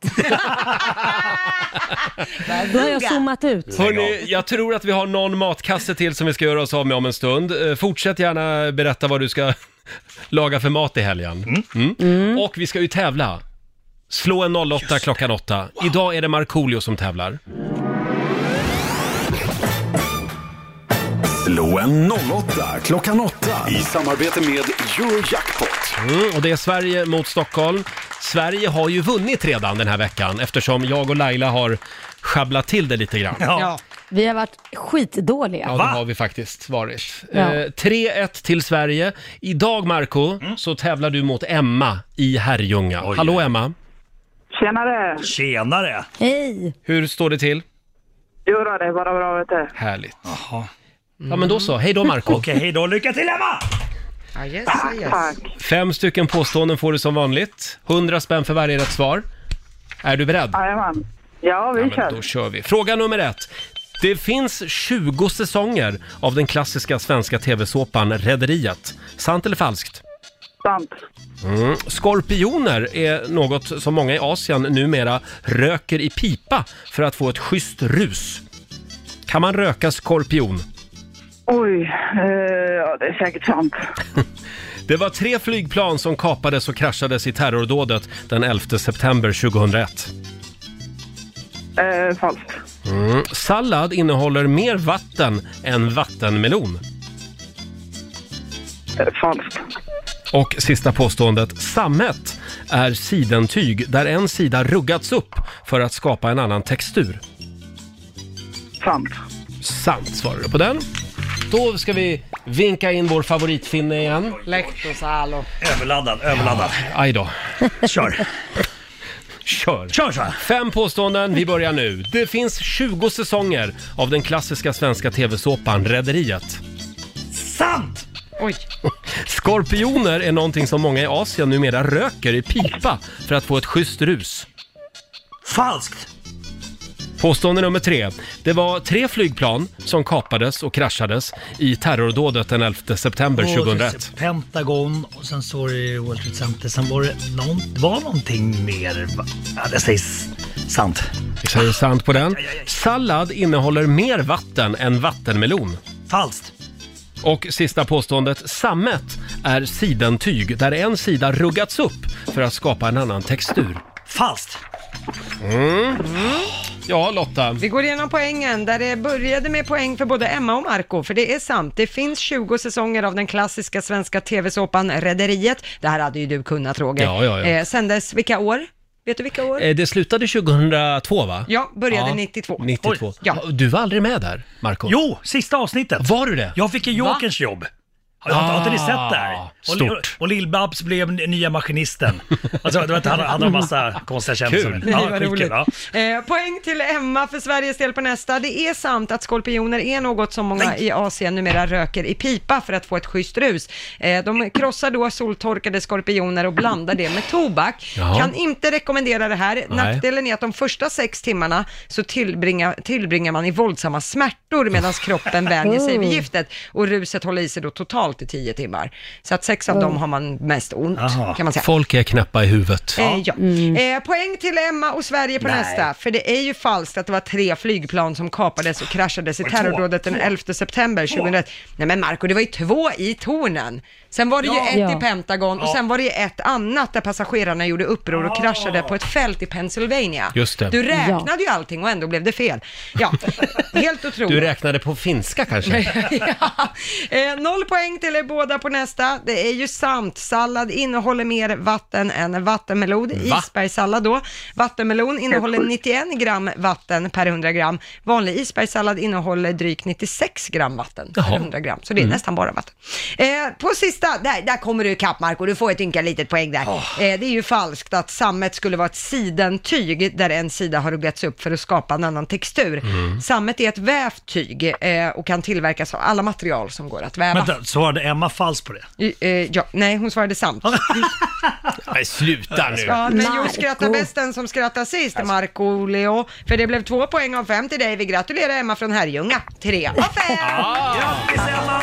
D: Då har jag zoomat ut.
A: Hörni, jag tror att vi har någon matkasse till som vi ska göra oss av med om en stund. Eh, Fortsätt gärna berätta vad du ska laga för mat i helgen. Mm. Och vi ska ju tävla. Slå en 08 klockan 8. Idag är det Markoolio som tävlar.
C: Slå en 08 klockan 8 i samarbete med Eurojackpot.
A: Mm, och det är Sverige mot Stockholm. Sverige har ju vunnit redan den här veckan eftersom jag och Laila har sjabblat till det lite grann.
D: Ja. Vi har varit skitdåliga.
A: Ja, det har vi faktiskt varit.
D: Ja.
A: Eh, 3-1 till Sverige. Idag, Marco,
I: Mm.
A: så tävlar du mot Emma i Herrljunga. Hallå, Emma.
J: Tjenare!
I: Tjenare!
D: Hej!
A: Hur står det till?
J: Jo då, det är bara bra vet du.
A: Härligt. Ja, men då så. Hej då, Marco.
I: Okej, hej då. Lycka till Emma!
B: Ja, yes, yes.
A: Fem stycken påståenden får du som vanligt. 100 spänn för varje rätt svar. Är du beredd?
J: Jajamän. Ja, vi
A: Ja, men
J: kör.
A: Då kör vi. Fråga nummer ett. Det finns 20 säsonger av den klassiska svenska tv-såpan Rederiet. Sant eller falskt?
J: Sant.
A: Mm. Skorpioner är något som många i Asien numera röker i pipa för att få ett schysst rus. Kan man röka skorpion?
J: Oj, eh, ja, det är säkert sant.
A: Det var tre flygplan som kapades och kraschades i terrordådet den 11 september 2001.
J: Eh, falskt.
A: Mm. Sallad innehåller mer vatten än vattenmelon.
H: Eh,
J: Falskt.
A: Och sista påståendet. Sammet är sidentyg där en sida ruggats upp för att skapa en annan textur.
J: Sant.
A: Sant svarar du på den. Då ska vi vinka in vår favoritfinne igen.
B: Lehtosalo.
I: Överladdad, överladdad.
A: Aj då.
I: Kör.
A: Kör. Kör så Fem påståenden, vi börjar nu. Det finns 20 säsonger av den klassiska svenska tv-såpan Rederiet.
I: Sant!
B: Oj.
A: Skorpioner är någonting som många i Asien numera röker i pipa för att få ett schysst rus.
I: Falskt!
A: Påstående nummer tre. Det var tre flygplan som kapades och kraschades i terrordådet den 11 september 2001.
I: Pentagon och sen så var det World Trade Center. Sen var det, någon, det var någonting mer. va? Ja, det sägs sant.
A: Vi säger sant på den. Sallad innehåller mer vatten än vattenmelon.
I: Falskt.
A: Och sista påståendet. Sammet är sidentyg där en sida ruggats upp för att skapa en annan textur.
I: Falskt.
A: Mm. Ja, Lotta.
B: Vi går igenom poängen där det började med poäng för både Emma och Marco, för det är sant. Det finns 20 säsonger av den klassiska svenska tv-såpan Rederiet. Det här hade ju du kunnat Roger.
A: Ja, ja, ja.
B: Eh, sändes vilka år? Vet du vilka år?
A: Eh, Det slutade 2002, va?
B: Ja, började 92.
A: 92.
B: Ja.
A: Du var aldrig med där, Marco?
I: Jo, sista avsnittet.
A: Var du det?
I: Jag fick en Jokerns jobb. Har, har inte ni sett det här? Och,
A: Ah, Stort.
I: och- och Lill-Babs blev n- nya maskinisten. Alltså, du vet, han han hade en massa konstiga kändisar.
A: Mm. Kul.
I: Ja,
B: Nej, vad
I: skitkul,
B: roligt.
I: ja.
B: Eh, poäng till Emma för Sveriges del på nästa. Det är sant att skorpioner är något som många i Asien numera röker i pipa för att få ett schysst rus. Eh, de krossar då soltorkade skorpioner och blandar det med tobak.
K: Jaha.
B: Kan inte rekommendera det här.
K: Nej.
B: Nackdelen är att de första sex timmarna så tillbringar, tillbringar man i våldsamma smärtor medan kroppen vänjer sig vid
K: Oh.
B: giftet och ruset håller i sig då totalt i tio timmar. Så att sex av
K: Oh.
B: dem har man mest ont kan man säga.
A: Folk är knäppa i huvudet.
B: Eh, ja. Eh, poäng till Emma och Sverige på
A: Nej.
B: nästa. För det är ju falskt att det var tre flygplan som kapades och kraschades i
K: Var det två?
B: terrordådet den
K: Två?
B: 11 september
K: Två?
B: 2001. Nej men Marco, det var ju två i tornen. Sen var det
K: Ja.
B: ju ett
K: Ja.
B: i Pentagon och
K: Ja.
B: sen var det ju ett annat där passagerarna gjorde uppror och kraschade på ett fält i Pennsylvania.
A: Just det.
B: Du
A: Ja.
B: räknade ju allting och ändå blev det fel. Ja, helt otroligt.
A: Du räknade på finska kanske?
B: Eh, noll poäng till er båda på nästa. Det är ju sant. Sallad innehåller mer vatten än vattenmelon.
K: Va?
B: Isbergssallad då. Vattenmelon innehåller 91 gram vatten per 100 gram. Vanlig isbergssallad innehåller drygt 96 gram vatten per
K: Jaha.
B: 100 gram. Så det är
K: Mm.
B: nästan bara vatten. Eh, på sista, där, där kommer du ikapp Marco. Du får ett ynka litet poäng där. Eh, det är ju falskt att sammet skulle vara ett sidentyg där en sida har ruggats upp för att skapa en annan textur.
I: Mm.
B: Sammet är ett vävt tyg eh, och kan tillverkas av alla material som går att väva.
I: Vänta, svarade Emma falskt på det?
B: I- Eh, ja, nej, hon svarade sant.
A: Nej, sluta nu.
B: Ja, men jo, skratta bäst den som skrattar sist,
A: Alltså.
B: Marco Leo. För det blev två poäng av fem till dig. Vi gratulerar Emma från Herrljunga. Tre av fem!
I: Grattis Emma!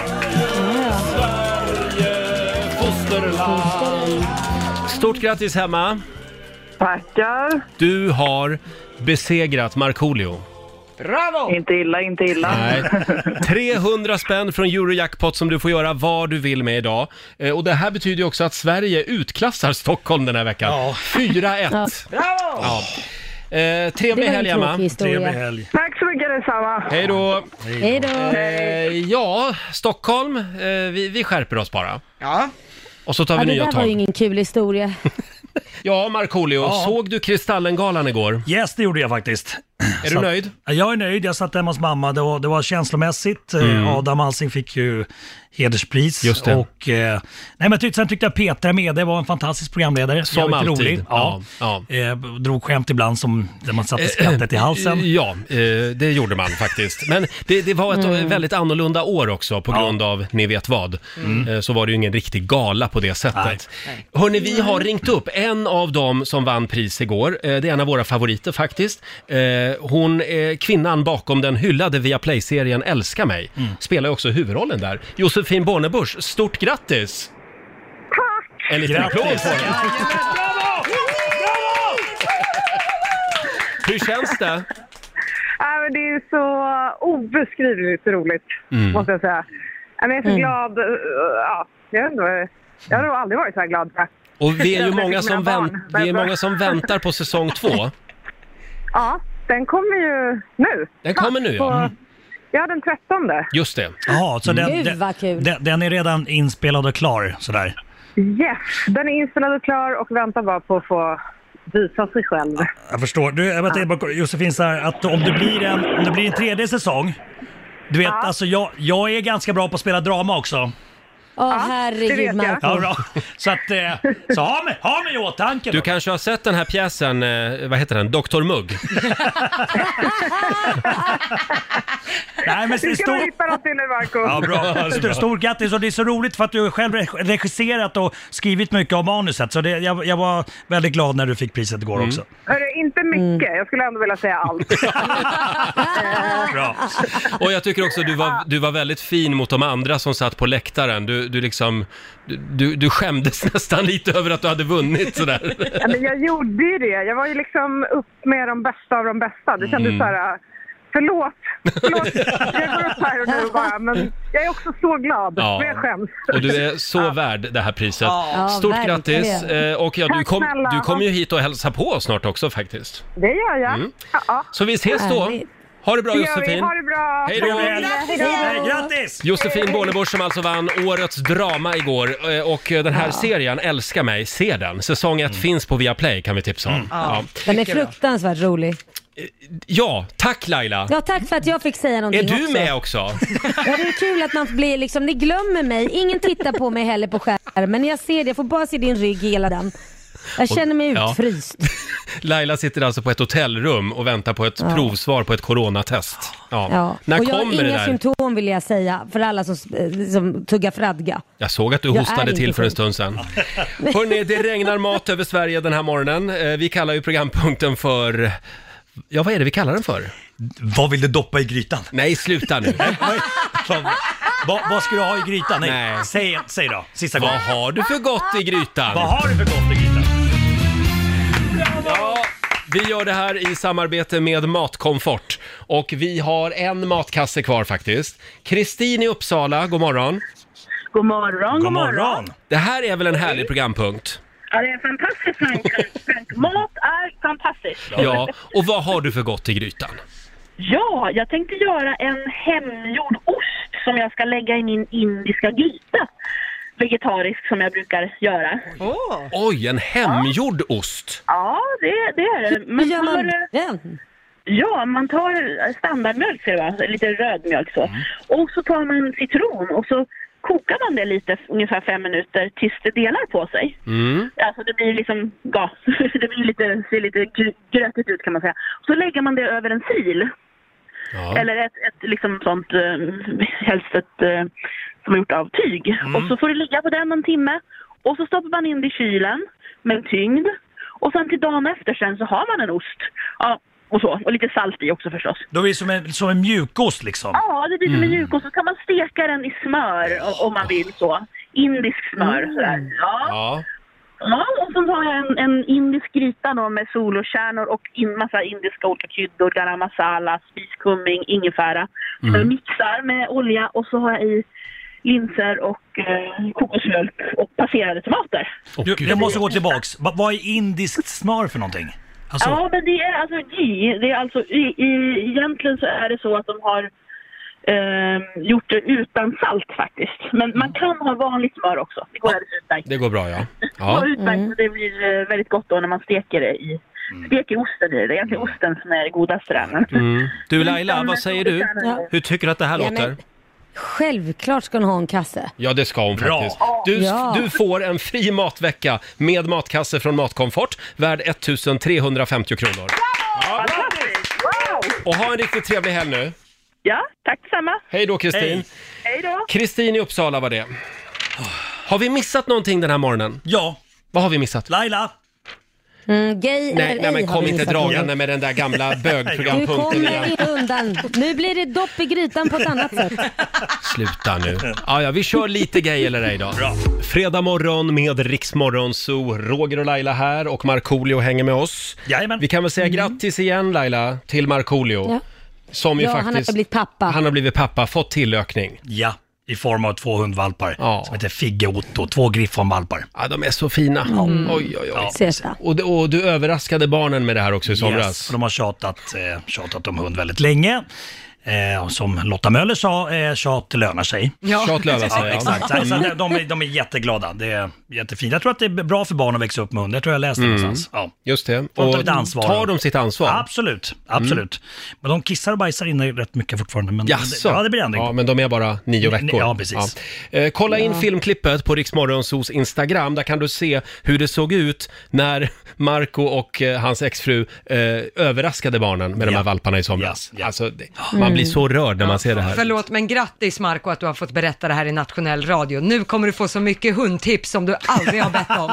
A: Stort grattis hemma.
P: Tackar.
A: Du har besegrat Markoolio.
B: Bravo!
P: Inte illa, inte illa.
A: Nej. 300 spänn från Eurojackpot som du får göra vad du vill med idag. Eh, Och det här betyder ju också att Sverige utklassar Stockholm den här veckan. 4-1. Ja. Eh,
P: Det var
A: trevlig
P: en
A: helg, Emma.
P: tråkig historia. Trevlig
A: helg.
P: Tack så mycket detsamma.
A: Hej då!
P: Hej då.
A: Eh, ja, Stockholm, eh, vi, vi skärper oss bara.
B: Ja.
A: Och så tar vi
D: ja, det
A: nya
D: där var ju
A: tag.
D: ingen kul historia.
A: Ja, Markoolio,
I: Ja.
A: såg du Kristallengalan igår?
I: Yes, det gjorde jag faktiskt.
A: Är du
I: Så att-
A: nöjd?
I: Ja, Jag är nöjd. Jag satt hemma hos mamma. Det var, det var känslomässigt. Eh,
A: Mm.
I: Adam Alsing fick ju hederspris.
A: Just det.
I: Och, eh, nej, men tyckte, sen tyckte jag Petra Mede var en fantastisk programledare.
A: Som
I: Jävligt
A: alltid.
I: Rolig. Ja. Eh, drog skämt ibland som, där man satte skrattet i halsen.
A: Eh, Ja, eh, det gjorde man faktiskt. Men det, det var ett
I: Mm.
A: väldigt annorlunda år också på grund av ni vet vad.
I: Mm.
A: Eh, Så var det ju ingen riktig gala på det sättet. Hörni, vi har ringt upp en av dem som vann pris igår. Eh, Det är en av våra favoriter faktiskt. Eh, Hon är kvinnan bakom den hyllade Viaplay-serien Älska mig.
I: Mm.
A: Spelar ju också huvudrollen där. Josefin Bornebusch, stort grattis! Tack! En liten applåd
K: Grattis.
A: på henne. Hur känns det?
P: Nej, Äh, men det är så obeskrivligt roligt,
A: Mm.
P: måste jag säga. Nej, men Jag är så
A: Mm.
P: glad. eh, Ja, jag, vet inte vad jag- jag har nog aldrig varit så här glad. tror jag.
A: Och vi är ju
P: Jag
A: många
P: fick
A: som,
P: mina
A: vänt,
P: barn.
A: vi är många som väntar på säsong två.
P: Ja, den kommer ju nu.
A: Den kommer nu, ja. Mm.
P: På, ja, den 13.
A: Just det.
I: Jaha, så den,
P: Gud,
I: den,
P: vad kul.
I: den, den är redan inspelad och klar sådär.
P: Yes, den är inspelad och klar och väntar bara på att få visa sig själv.
I: Jag förstår. Du, jag vet, inte, Josefin, så här, att om det, blir en, om det blir en tredje säsong. Du vet, alltså jag, jag är ganska bra på att spela drama också.
D: Åh
I: det vet
D: herregud
I: jag.
D: Marco.
I: Ja, bra. Så att, eh, så ha mig, ha mig i åtanke
A: Du
I: då.
A: kanske har sett den här pjäsen, eh, vad heter den, Dr Mugg?
I: Nej, men
P: Du ska
I: stor-
P: väl hitta någonting nu, Marco.
I: Ja, bra. Stort, stort grattis och det är så roligt för att du själv reg- regisserat och skrivit mycket av manuset. Så det, jag, jag var väldigt glad när du fick priset
A: Mm.
I: igår också.
P: Hörru, inte mycket. Jag skulle ändå vilja säga allt. Eh,
I: Bra.
A: Och jag tycker också du var, du var väldigt fin mot de andra som satt på läktaren. Du, du liksom, du- du, du skämdes nästan lite över att du hade vunnit sådär.
P: Ja, men jag gjorde ju det. Jag var ju liksom upp med de bästa av de bästa. Det kändes
A: Mm.
P: så här, äh, förlåt, förlåt, jag går upp här och nu bara, men jag är också så glad,
A: Ja.
P: men jag skäms.
A: Och du är så värd det här priset.
P: Ja,
A: Stort
P: verkligen.
A: grattis! Eh, Och ja, du
P: Tack
A: kom,
P: snälla.
A: du kom ju hit och hälsa på oss snart också faktiskt.
P: Det gör jag.
A: Mm.
P: Ja, ja.
A: Så vi ses då!
P: Härligt.
A: Ha det bra
P: Det gör vi.
A: Josefin!
P: Ha det bra!
A: Hej då.
I: Hej, grattis!
A: Josefin Bornebusch som alltså vann årets drama igår eh, och eh, den här serien Älska
D: Mm.
A: mig, se den. Säsong 1 finns på Viaplay kan vi tipsa om. Ja.
D: Den är fruktansvärt rolig.
A: Ja, tack Laila!
D: Ja, tack för att jag fick säga
A: Är
D: någonting
A: du
D: också.
A: med också?
D: Ja, det är kul att man blir liksom, ni glömmer mig. Ingen tittar på mig heller på skärmen. Jag ser det, jag får bara se din rygg hela den. Jag känner mig
A: Och- ja.
D: utfryst.
A: Laila sitter alltså på ett hotellrum och väntar på ett
D: Ja.
A: provsvar på ett coronatest. Ja.
D: Ja.
A: När
D: och jag har
A: kommer
D: inga
A: det där?
D: symptom vill jag säga, för alla som eh, liksom, tuggar fradga.
A: Jag såg att du
D: Jag är
A: hostade
D: inte
A: till för en
D: sjuk.
A: stund sedan. Hörrni, det regnar mat över Sverige den här morgonen. Eh, Vi kallar ju programpunkten för... Ja, vad är det vi kallar den för? Vad vill du doppa i grytan? Nej, sluta nu.
I: Vad, vad ska du ha i grytan? Nej.
A: Nej.
I: Säg, säg då, sista
A: Vad
I: gången.
A: har du för gott i grytan?
I: Vad har du för gott i grytan?
A: Vi gör det här i samarbete med Matkomfort. Och vi har en matkasse kvar faktiskt. Kristin i Uppsala, god morgon.
K: God morgon, god morgon.
A: Det här är väl en härlig programpunkt?
K: Ja, det är en fantastisk tanke. Tank- Mat är fantastiskt.
A: Ja, och vad har du för gott i grytan?
K: Ja, jag tänkte göra en hemgjord ost som jag ska lägga i min indiska gryta. Vegetarisk som jag brukar göra.
A: Oj, en hemgjord ost!
K: Ja, det, det är det.
D: Hur gör man
K: den? Ja, man tar standardmjölk, ser du, va? lite röd mjölk så.
D: Mm.
K: Och så tar man citron och så kokar man det lite, ungefär fem minuter, tills det delar på sig.
H: Mm.
K: Alltså det blir liksom gas. Det blir lite, ser lite gr- grötigt ut kan man säga. Så lägger man det över en sil. Eller ett, ett liksom sånt, eh, helst ett eh, som är gjort av tyg. Och så får det ligga på den en timme. Och så stoppar man in det i kylen med en tyngd. Och sen till dagen efter sen så har man en ost. Ja, och så. Och lite salt i också förstås.
I: Då är det som en, som en mjukost liksom.
K: Ja, det blir som en
I: Mm.
K: mjukost. Så kan man steka den i smör o- om man vill så. Indisk smör sådär. Ja.
A: Ja.
K: Ja, och sen har jag en, en indisk gryta då med solokärnor och in massa indiska olika kryddor, garam masala, spiskummin, ingefära.
H: Mm.
K: Jag mixar med olja och så har jag i linser och eh, kokosmjölk och passerade tomater.
I: Du, jag måste gå tillbaks. Va, vad är indiskt smör för någonting? Alltså,
K: Ja, men det är alltså ghee. Det är alltså, i, i, egentligen så är det så att de har ehm, gjort det utan salt faktiskt. Men man kan ha vanligt smör också. Det går alldeles utmärkt.
A: Det går bra ja.
K: Ja.
A: ja.
K: Utmärkt,
D: Mm.
K: och det blir eh, väldigt gott då när man steker det i Steker osten i det. Det är egentligen osten som är det godaste där. men-
A: Mm. Du Laila, vad säger du?
D: Ja.
A: Hur tycker du att det här
D: Ja, men-
A: låter?
D: Självklart ska hon ha en kasse.
A: Ja, det ska hon faktiskt. Du,
D: Ja.
A: du får en fri matvecka med matkasse från Matkomfort, värd 1350 kronor.
K: Fantastiskt! Wow!
A: Och ha en riktigt trevlig helg nu.
K: Ja, tack detsamma.
A: Hej då Kristin.
K: Hej då!
A: Kristin i Uppsala var det. Har vi missat någonting den här morgonen?
I: Ja.
A: Vad har vi missat?
I: Laila!
D: Mm, gay
A: Nej,
D: eller
A: nej
D: ej
A: men
D: har
A: kom
D: vi
A: inte
D: missat
A: dragande
D: något.
A: med den där gamla
D: Du
A: bögprogrampunkten
D: kommer
A: igen.
D: inte undan. Nu blir det dopp i grytan på ett annat sätt.
A: Sluta nu. Ja, ja, vi kör lite gay eller ej då.
I: Bra.
A: Fredag morgon med Riksmorgon Zoo. Roger och Laila här och Markoolio hänger med oss. Vi kan väl säga grattis igen Laila till Markoolio.
D: Mm. Ja.
A: Som ju
D: Ja, han
A: faktiskt...
D: har blivit pappa.
A: Han har blivit pappa, fått tillökning.
I: Ja, i form av två hundvalpar som heter Figge och Otto. Två griffonvalpar.
A: Ja, de är så fina.
I: Mm.
A: Oj, oj, oj.
D: Söta.
A: Och, du- och du överraskade barnen med det här också i somras.
I: Yes, för de har tjatat, eh, tjatat om hund väldigt länge. Eh, och som Lotta Möller sa, eh, tjat lönar sig.
A: Ja. Tjat lönar sig, ja.
I: ja. Exakt. Så, så
A: Mm.
I: de, de, är, de är jätteglada. Det är jättefint. Jag tror att det är bra för barn att växa upp med hund. Jag tror jag läste
A: Mm.
I: någonstans. Ja.
A: Just det.
I: De
A: Och
I: tar sitt ansvar.
A: tar de sitt ansvar? Mm.
I: Absolut, absolut. Men de kissar och bajsar inne rätt mycket fortfarande. Men
A: Jaså?
I: Ja, det blir ändring.
A: Ja, men de är bara nio
I: Nej,
A: veckor.
I: ja, precis.
A: Ja. Eh, kolla in
I: Ja.
A: filmklippet på Riksmorgonsos Instagram. Där kan du se hur det såg ut när Marco och eh, hans exfru eh, överraskade barnen med de här valparna i somras. Alltså, det, man
B: Mm.
A: blir så rörd när man ser det här.
B: Förlåt, men grattis Marco att du har fått berätta det här i nationell radio. Nu kommer du få så mycket hundtips som du aldrig har bett om.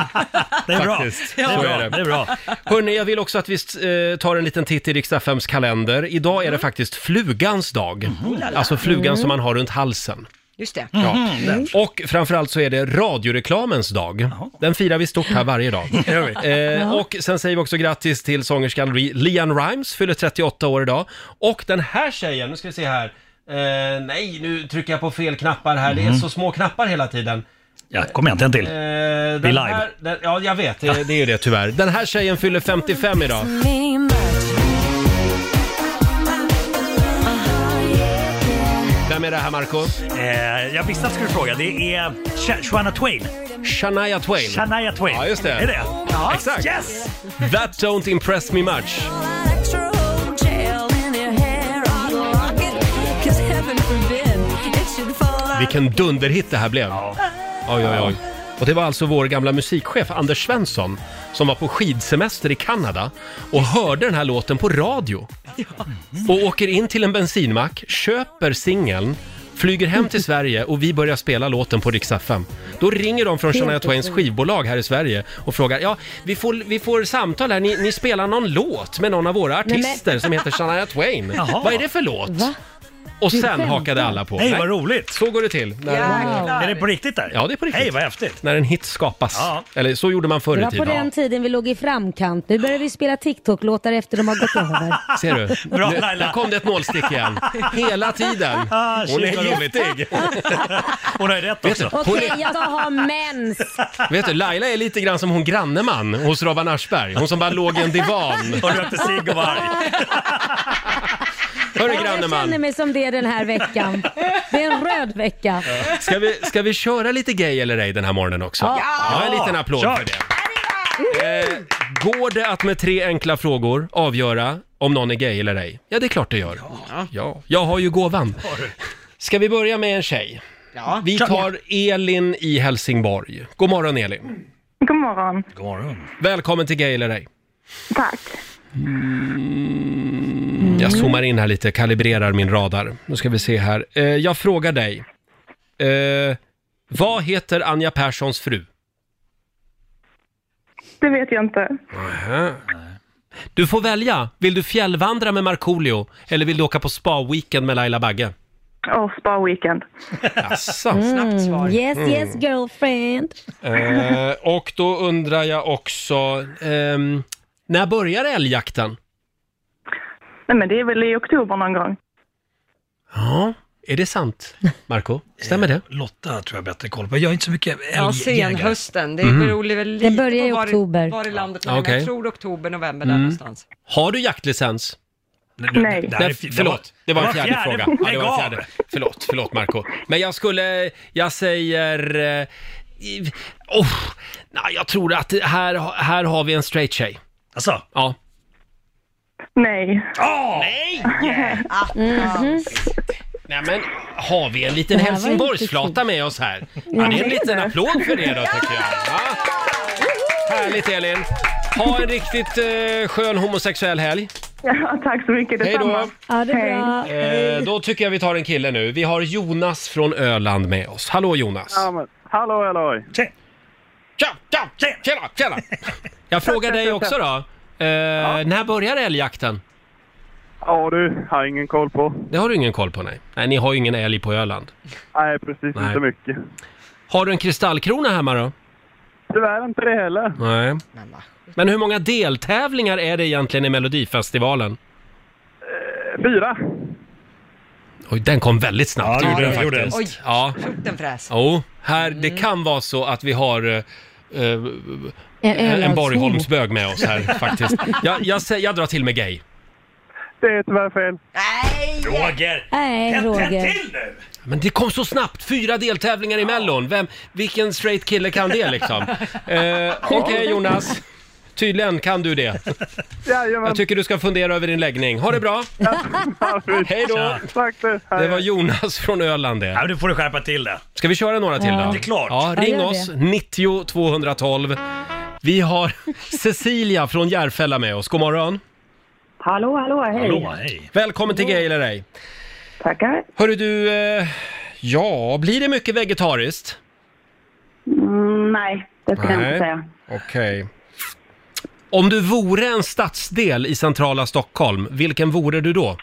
I: Det är bra.
A: Faktiskt.
I: Det är
A: Så
I: bra.
A: är det.
I: det är bra.
A: Hörni, jag vill också att vi eh, tar en liten titt i Riks-FMs kalender. Idag är det faktiskt flugans dag. Alltså flugan
B: Mm.
A: som man har runt halsen.
B: Just det. Mm.
A: Ja. Mhm.
I: Mm.
A: Och framförallt så är det radioreklamens dag. Den firar vi stort här varje dag. eh, och sen säger vi också grattis till sångerskan Re- Leanne Rimes, fyller 38 år idag. Och den här tjejen, nu ska vi se här. Eh, nej, nu trycker jag på fel knappar här. Det är så små knappar hela tiden.
I: Mhm. Ja, kom igen, en till.
A: Eh,
I: Vi
A: den
I: live.
A: Här, den, ja, jag vet. Det, det är ju det tyvärr. Den här tjejen fyller 55 idag. Uh-huh, Vem är det här, Marco?
I: Eh, jag visste att du skulle fråga. Det är Sh- Shania Twain.
A: Shania Twain.
I: Shania Twain.
A: Ja, just det.
I: Är det?
A: Exakt.
I: Yes!
A: That don't impress me much. Vilken dunderhit det här blev. Oj, oj, oj. Och det var alltså vår gamla musikchef Anders Svensson som var på skidsemester i Kanada och hörde den här låten på radio. Och åker in till en bensinmack, köper singeln, flyger hem till Sverige och vi börjar spela låten på Rix FM. Då ringer de från Shania
Q: Helt
A: Twains
Q: otroligt.
A: skivbolag här i Sverige och frågar, ja, vi får, vi får samtal här, ni, ni spelar någon låt med någon av våra
I: men-
A: artister som heter Shania Twain.
I: Jaha.
A: Vad är det för låt? Och
I: Du
A: sen
I: skämtar.
A: hakade alla på.
I: Nej, vad
A: roligt! Så går det till. när-
D: Jäklar.
I: Är det på riktigt där?
A: Ja, det är på riktigt.
I: Hej, vad häftigt.
A: När en hit skapas. Eller så gjorde man förr
D: Det
A: i
D: var på
A: tiden.
D: den tiden vi låg i framkant. Nu börjar vi spela TikTok-låtar efter de har gått över.
A: Ser du?
I: Bra,
A: Nu-
I: Laila.
A: Där kom det ett nålstick igen. Hela tiden.
I: Ah,
A: Hon
I: shit,
A: är
I: vad roligt.
A: giftig.
I: Hon har rätt
A: Vet du,
I: också.
A: hon
D: Okej, jag ska ha mens.
A: är, vet du, Laila är lite grann som hon granneman hos Robban Aschberg. Hon som bara låg i en divan.
I: Och rökte cigg och var
A: arg.
D: Ja,
A: Hörru
D: jag känner
A: granneman.
D: mig som det den här veckan. Det är en röd vecka.
A: Ska vi, ska vi köra lite gay eller ej den här morgonen också?
D: Ja.
A: en liten applåd
I: Kör.
A: för det. Eh, går det att med tre enkla frågor avgöra om någon är gay eller ej? Ja, det är klart det gör. Ja. Jag har ju gåvan. Ska vi börja med en tjej? Vi tar Elin i Helsingborg. God morgon Elin.
P: God morgon.
A: God morgon. Välkommen till Gay eller ej.
P: Tack.
A: Mm. Jag zoomar in här lite, kalibrerar min radar. Nu ska vi se här. Eh, jag frågar dig. Eh, vad heter Anja Perssons fru?
P: Det vet jag inte.
A: Aha. Du får välja. Vill du fjällvandra med Markoolio eller vill du åka på spa-weekend med Laila Bagge?
P: Åh, oh, spa-weekend.
A: Jaså?
D: Snabbt svar. Mm. Yes,
A: Mm.
D: yes girlfriend.
A: Eh, och då undrar jag också, ehm, när börjar älgjakten?
P: Nej, men det är väl i oktober någon gång.
A: Ja, är det sant, Marco? Stämmer det?
I: Eh, Lotta tror jag bättre koll på. Jag är inte så mycket
B: Ja,
I: älgjägare.
B: senhösten. Det
A: Mm.
B: beror väl lite
D: Den börjar i
B: på var,
D: oktober.
B: var i landet man är.
A: Okej.
B: Jag tror oktober, november där
A: Mm.
B: någonstans.
A: Har du jaktlicens?
B: Nej.
A: Nej, förlåt. Det var en fjärde, fråga. Ja, det var en
I: Lägg
A: fjärde. Förlåt, förlåt Marco. Men jag skulle, jag säger... eh, i- Oh, nej, jag tror att här, här har vi en straight tjej.
I: Alltså?
A: Ja.
P: Nej.
A: Åh! Nej!
D: Mm-hmm.
A: Nej men, har vi en liten
P: Det här var inte
A: Helsingborgsflata med oss här? Ja, det är en liten applåd för det då tycker jag. Ja. Härligt Elin! Ha en riktigt eh, skön homosexuell helg.
P: Ja, tack så mycket.
A: Hej då.
P: Detsamma.
D: Ja, det är bra.
A: Eh, då tycker jag vi tar en kille nu. Vi har Jonas från Öland med oss. Hallå Jonas!
M: Ja, men, hallå, hallå!
I: Tjena!
A: Tja! Tjena! Tjena! Jag frågar dig också då. Eh, När börjar älgjakten?
M: Ja du, har ingen koll på.
A: Det har du ingen koll på nej. Nej, ni har ju ingen älg på Öland.
M: Nej, precis.
A: Nej.
M: Inte mycket.
A: Har du en kristallkrona hemma då?
M: Tyvärr inte det heller.
A: Nej. Men hur många deltävlingar är det egentligen i Melodifestivalen?
M: Eh, Fyra.
A: Oj, den kom väldigt snabbt.
I: Ja,
A: gjorde
I: det
A: den
I: gjorde den.
A: faktiskt. Ja.
B: Den fräs.
A: Jo, här, det kan vara så att vi har eh, eh, en,
M: ölandsbo.
A: en Borgholmsbög med oss här faktiskt. Jag, jag, sä- jag drar till med gay.
M: Det är tyvärr fel.
I: Roger!
D: Nej, Roger.
A: Men det kom så snabbt! Fyra deltävlingar i Mellon. Vem, vilken straight kille kan det liksom? Eh, Okej Jonas, tydligen kan du det.
M: Jajamän.
A: Jag tycker du ska fundera över din läggning. Ha det bra! Hej då!
M: Tack du.
A: Det var Jonas från Öland det.
I: Ja, men du får du skärpa till det.
A: Ska vi köra några till då?
I: Ja. Det är klart.
A: Ja,
I: Ja,
A: ring
I: gör
A: oss,
I: det.
A: 90 212. Vi har Cecilia från Järfälla med oss. God morgon.
R: Hallå, hallå, hej.
A: hej. Välkommen till Gay eller ej.
R: Tackar.
A: Hörru du, eh, ja, blir det mycket vegetariskt?
R: Mm, nej, det skulle jag inte
A: Nej.
R: säga.
A: Okej. Om du vore en stadsdel i centrala Stockholm, vilken vore du då?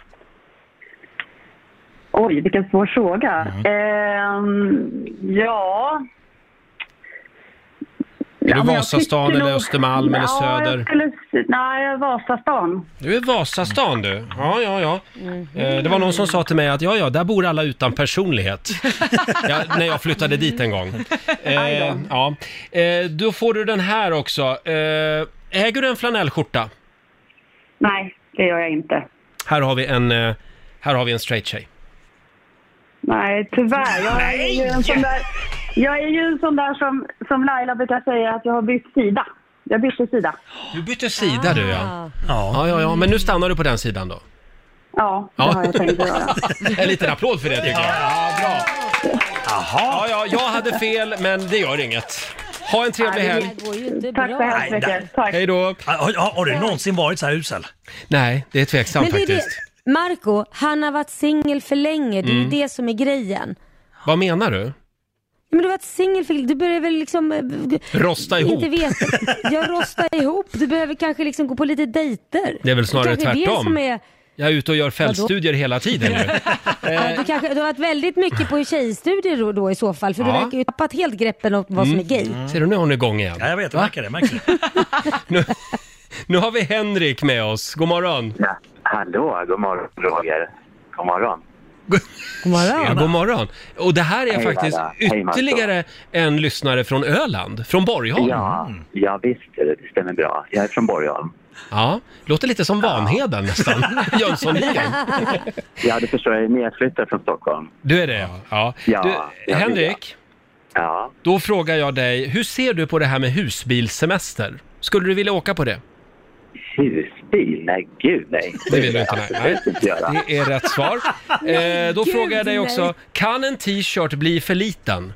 R: Oj, vilken svår fråga. Ehm, ja...
A: Är
R: Ja,
A: du
R: men jag
A: Vasastan
R: tycker
A: eller
R: nog-
A: Östermalm eller
R: ja,
A: Söder?
R: Jag skulle, nej, Vasastan.
A: Du är Vasastan du. Ja, ja, ja. Eh, Det var någon som sa till mig att ja, ja, där bor alla utan personlighet. ja, när jag flyttade dit en gång. Eh, ja. eh, då får du den här också. Eh, äger du en flanellskjorta?
R: Nej, det gör jag inte.
A: Här har vi en, eh, här har vi en straight tjej.
R: Nej, tyvärr. Jag är ju en sån där, jag är ju en sån där som, som Laila brukar säga att jag har bytt sida. Jag bytte sida.
A: Du bytte sida du ja. Ja, ja, ja. Men nu stannar du på den sidan då.
R: Ja, det
A: Ja.
R: har jag tänkt att göra.
A: En liten applåd för det tycker jag. Ja, bra. Jaha. Ja, ja, jag hade fel, men det gör inget. Ha en trevlig
D: Nej, det
A: helg.
D: går ju inte
R: Tack
D: bra.
R: så hemskt mycket. Tack.
A: Hej då.
I: Ah, Har, har, har du någonsin varit så här usel?
A: Nej, det är tveksamt
D: Men det är det,
A: faktiskt.
D: Marco, han har varit singel för länge. Det är ju
A: Mm.
D: det som är grejen.
A: Vad menar du?
D: Men du har varit singel för Du börjar väl liksom... eh,
A: Rosta ihop.
D: Inte veta. Jag rostar ihop. Du behöver kanske liksom gå på lite dejter.
A: Det är väl snarare
D: kanske är Det
A: tvärtom.
D: som är,
A: Jag är ute och gör fältstudier hela tiden nu. Eh,
D: Ja, du, kanske, du har varit väldigt mycket på tjejstudier då, då i så fall. För du
A: Ja. Mm.
D: verkar ju ha tappat helt greppen om vad som är gay.
A: Ser du, nu är hon igång igen. Ja,
I: jag vet. Jag märker det. Märker
A: Nu har vi Henrik med oss. God morgon.
Q: Ja. Hallå, god morgon Roger. God morgon.
D: God morgon.
A: Ja, god morgon. Och det här är
Q: Hej,
A: faktiskt
Q: Laila. Hej, Marco.
A: ytterligare en lyssnare från Öland, från Borgholm. Mm.
Q: Ja, ja visst, det stämmer bra. Jag är från Borgholm.
A: Ja, låter lite som Vanheden nästan. Jönssonligan.
Q: Ja, du förstår, jag är nedflyttad från Stockholm.
A: Du är det ja. ja.
Q: Ja,
A: du,
Q: jag vet
A: Henrik,
Q: Ja.
A: då frågar jag dig, hur ser du på det här med husbilsemester? Skulle du vilja åka på det?
Q: Husbil? Nej, gud nej.
A: Det vill du inte, nej.
Q: absolut inte göra.
A: Det är rätt svar. Eh, då
Q: gud,
A: frågar jag dig också,
Q: nej.
A: kan en t-shirt bli för liten?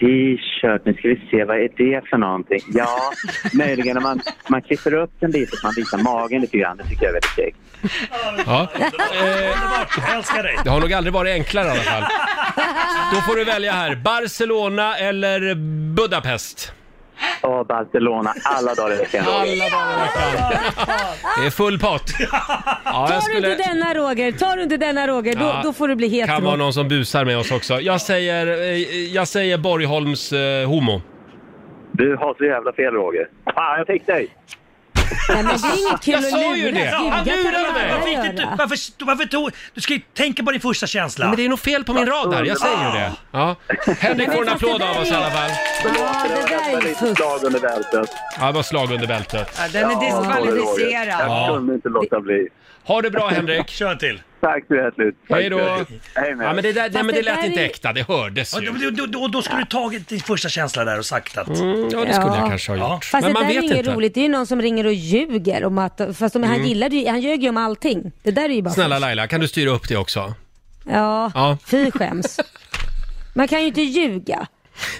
Q: T-shirt, nu ska vi se, vad är det för någonting? Ja, möjligen om man, man klipper upp den lite så man visar magen lite grann. Det tycker jag är väldigt snyggt.
A: Ja. Eh,
I: Underbart, jag älskar dig.
A: Det har nog aldrig varit enklare i alla fall. Då får du välja här, Barcelona eller Budapest.
Q: Åh, Barcelona, alla dagar i veckan.
A: Alla dagar i veckan. Det är full pott. Ja,
D: Tar du inte denna Roger, tar du inte denna Roger, då,
A: Ja,
D: då får du bli hetero.
A: kan vara någon som busar med oss också. Jag säger, eh, jag säger Borgholms eh, homo.
Q: Du har så jävla fel, Roger. Fan, jag fick dig!
D: Nej, men det är inget kul
H: Jag
D: att
H: sa ju
D: lura.
H: det.
D: Ljuga
H: Han
D: kan
H: lurade
D: alla
H: mig.
I: Varför,
D: göra.
I: fick du inte- varför, varför tog... Du ska ju tänka på din första känsla.
A: Men det är nog fel på min radar, jag säger ju det. Ja. Henrik får en applåd av oss i alla fall.
D: Ja, det där är fusk.
Q: Slag under bältet.
A: Ja, det var slag under bältet.
B: Ja, den är diskvalificerad.
Q: Jag
A: Ja.
Q: kunde inte låta bli.
A: Ha det bra Henrik.
I: Kör en till.
Q: Tack så hjärtligt. Tack
A: Hej då.
Q: så hjärtligt. Hej med
A: Ja, men det, där, nej, men det
I: Fast det
A: lät
I: där
A: inte
I: är-
A: äkta, det hördes
I: Ja,
A: ju. Mm,
I: då, då, då, då skulle du tagit din första känsla där och sagt att...
A: ja, det skulle jag kanske ha gjort.
D: Fast det där är inget roligt. Det är ju någon som ringer och ljuger om att... Fast om, han,
A: Mm.
D: gillade, ju- han ljög ju om allting. Det där är ju bara
A: Snälla
D: fusk.
A: Laila, kan du styra upp det också?
D: Ja,
A: Ja.
D: fy skäms. Man kan ju inte ljuga.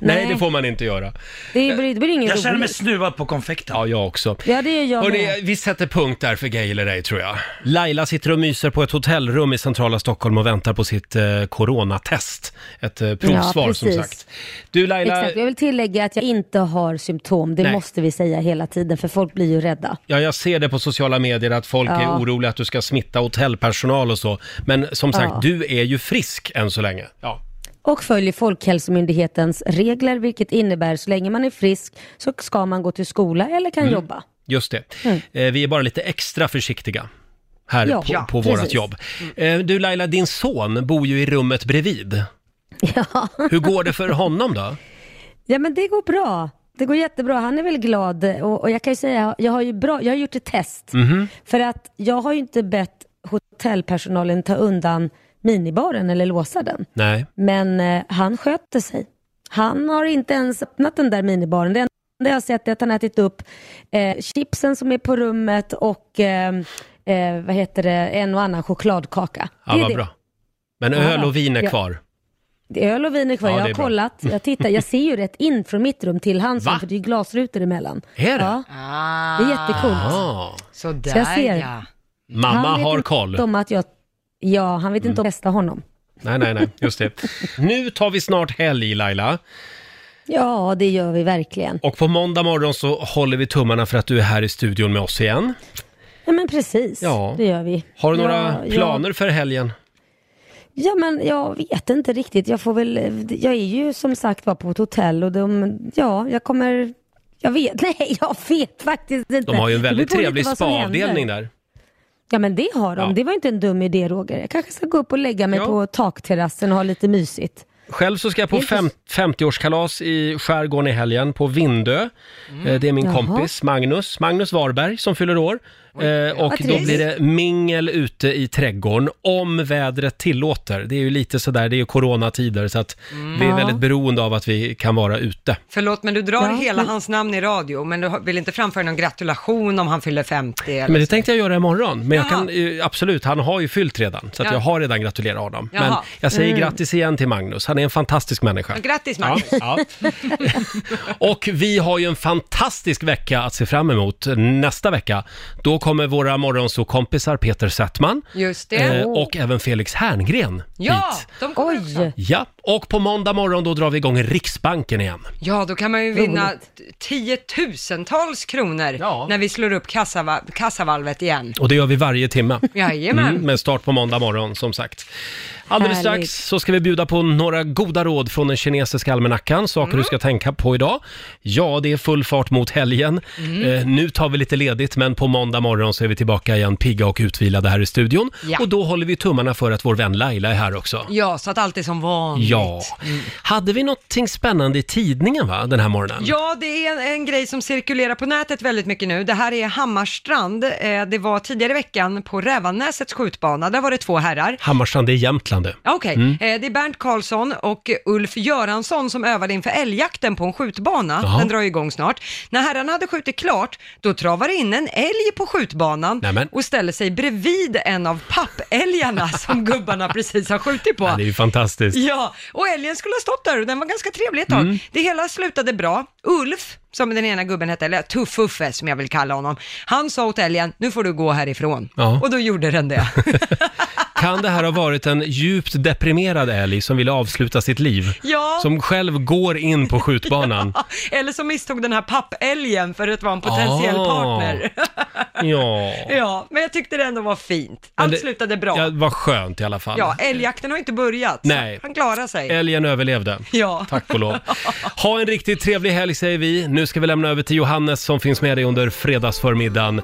A: Nej, det får man inte göra.
D: Det blir, det blir inget
A: Jag känner mig
D: roligt.
I: Snuvad på konfekten.
A: Ja, jag också.
D: Ja, det är jag
A: Hörrni,
D: med.
A: vi sätter punkt där för Gay eller ej tror jag. Laila sitter och myser på ett hotellrum i centrala Stockholm och väntar på sitt eh, coronatest. Ett eh, provsvar
D: Ja,
A: som
D: precis.
A: sagt. Du Laila,
D: Exakt, jag vill tillägga att jag inte har symptom. Det
A: Nej.
D: måste vi säga hela tiden för folk blir ju rädda.
A: ja, jag ser det på sociala medier att folk
D: Ja.
A: är oroliga att du ska smitta hotellpersonal och så. Men som sagt,
D: Ja.
A: du är ju frisk än så länge. Ja.
D: Och följer Folkhälsomyndighetens regler vilket innebär så länge man är frisk så ska man gå till skola eller kan
A: Mm.
D: jobba.
A: Just det.
D: Mm.
A: Eh, vi är bara lite extra försiktiga här
D: Ja,
A: på,
D: ja,
A: på
D: precis.
A: vårt jobb. Eh, du Laila, din son bor ju i rummet bredvid. Hur går det för honom då?
D: Ja men det går bra. Det går jättebra. Han är väl glad och, och jag kan ju säga jag har ju bra, jag har gjort ett test.
A: Mhm.
D: För att jag har ju inte bett hotellpersonalen ta undan minibaren eller låsa den.
A: Nej.
D: Men eh, han sköter sig. Han har inte ens öppnat den där minibaren. Det enda jag har sett är att han har ätit upp eh, chipsen som är på rummet och eh, eh, vad heter det, en och annan chokladkaka.
A: Ja,
D: det är
A: vad
D: det.
A: bra. Men
D: Ja,
A: öl och vin är
D: ja.
A: kvar.
D: Det är öl och vin är kvar.
A: Ja,
D: jag
A: det
D: har
A: är bra.
D: kollat. Jag, tittar. jag ser ju rätt in från mitt rum till hans rum för det är ju glasrutor emellan.
A: Är det?
D: Ja. Det är jättekult.
A: Ah.
B: Sådär
D: Så jag ser.
B: ja.
A: Mamma
D: Han vet
A: har
D: inte
A: koll. Mm.
D: Om att jag, ja, han vet inte om jag testar honom.
A: Nej, nej, nej, just det. Nu tar vi snart helg Laila.
D: Ja, det gör vi verkligen.
A: Och på måndag morgon så håller vi tummarna för att du är här i studion med oss igen.
D: Ja, men precis.
A: Ja.
D: Det gör vi.
A: Har du
D: Ja,
A: några
D: ja.
A: planer för helgen?
D: Ja, men jag vet inte riktigt. Jag får väl, jag är ju som sagt var på ett hotell och de, ja, jag kommer, jag vet, nej, jag vet faktiskt inte.
A: De har ju en
D: Det
A: väldigt
D: beror på lite
A: trevlig
D: vad som
A: spaavdelning
D: händer.
A: där.
D: Ja, men det har de.
A: Ja.
D: Det var inte en dum idé, Roger. Jag kanske ska gå upp och lägga mig på takterrassen och ha lite mysigt.
A: Själv så ska jag på
D: Det är
A: fem, 50-årskalas i skärgården i helgen på Vindö. Eh, Det är min
D: Mm. Jaha.
A: kompis Magnus, Magnus Varberg som fyller år. Eh, och
H: Vad
A: då
H: trist.
A: blir det mingel ute i trädgården om vädret tillåter. Det är ju lite sådär, det är ju coronatider så att vi är
B: Ja.
A: väldigt beroende av att vi kan vara ute.
B: Förlåt, men du drar
A: Ja,
B: hela
A: men-
B: hans namn i radio, men du har- vill inte framföra någon gratulation om han fyller 50 eller
A: Men det tänkte jag göra imorgon. Men jag
B: Jaha.
A: kan, ju- absolut, han har ju fyllt redan. Så att
B: Ja.
A: jag har redan gratulerat honom.
B: Jaha.
A: Men jag säger
B: Mm.
A: grattis igen till Magnus. Han är en fantastisk människa.
B: Ja, grattis, Magnus.
A: Ja, ja. Och vi har ju en fantastisk vecka att se fram emot nästa vecka. Då kommer våra morgonsåkompisar Peter Settman
B: Just det.
A: eh, och även Felix Herngren
B: Ja,
A: hit.
B: de kommer också.
A: Ja, och på måndag morgon då drar vi igång Riksbanken igen.
B: Ja, då kan man ju vinna t- tiotusentals kronor när vi slår upp kassava- kassavalvet igen.
A: Och det gör vi varje timme. Mm,
B: Jajamän.
A: med start på måndag morgon, som sagt. Alldeles
B: Härligt.
A: strax så ska vi bjuda på några goda råd från den kinesiska almanackan, saker
B: Mm.
A: du ska tänka på idag. Ja, det är full fart mot helgen.
B: Mm.
A: Eh, nu tar vi lite ledigt, men på måndag morgon så är vi tillbaka igen, pigga och utvilade här i studion.
B: Ja.
A: Och då håller vi tummarna för att vår vän Laila är här också.
B: Ja, så att allt är som vanligt. Mm.
A: Ja. Hade vi någonting spännande i tidningen, va, den här morgonen?
B: Ja, det är en, en grej som cirkulerar på nätet väldigt mycket nu. Det här är Hammarstrand. Eh, det var tidigare i veckan på Rävannäsets skjutbana. Där var det två herrar.
A: Hammarstrand, det är Jämtland det.
B: Ja, Okej,
A: Mm.
B: eh, det är Bernt Karlsson och Ulf Göransson som övade inför älgjakten på en skjutbana.
A: Jaha.
B: Den drar ju igång snart. När herrarna hade skjutit klart, då travar in en älg på skjutbanan
A: Nämen.
B: och ställer sig bredvid en av pappälgarna som gubbarna precis har skjutit på.
A: Ja, det är ju fantastiskt.
B: Ja, och älgen skulle ha stått där och den var ganska trevlig ett tag.
A: Mm.
B: Det hela slutade bra. Ulf, som den ena gubben hette, eller Tuff-Uffe som jag vill kalla honom, han sa åt älgen, nu får du gå härifrån.
A: Ja.
B: Och då gjorde den det.
A: Kan det här ha varit en djupt deprimerad älg som ville avsluta sitt liv?
B: Ja.
A: Som själv går in på skjutbanan?
B: Eller så misstog den här pappälgen för att vara en potentiell
A: Ah.
B: partner.
A: Ja.
B: ja, men jag tyckte det ändå var fint.
A: Men
B: Allt
A: det-
B: slutade bra.
A: ja. Vad skönt i alla fall.
B: Ja, älgjakten har inte börjat. så
A: Nej.
B: Han klarar sig.
A: Älgen överlevde.
B: Ja.
A: Tack och lov. Ha en riktigt trevlig helg säger vi. Nu ska vi lämna över till Johannes som finns med dig under fredagsförmiddagen.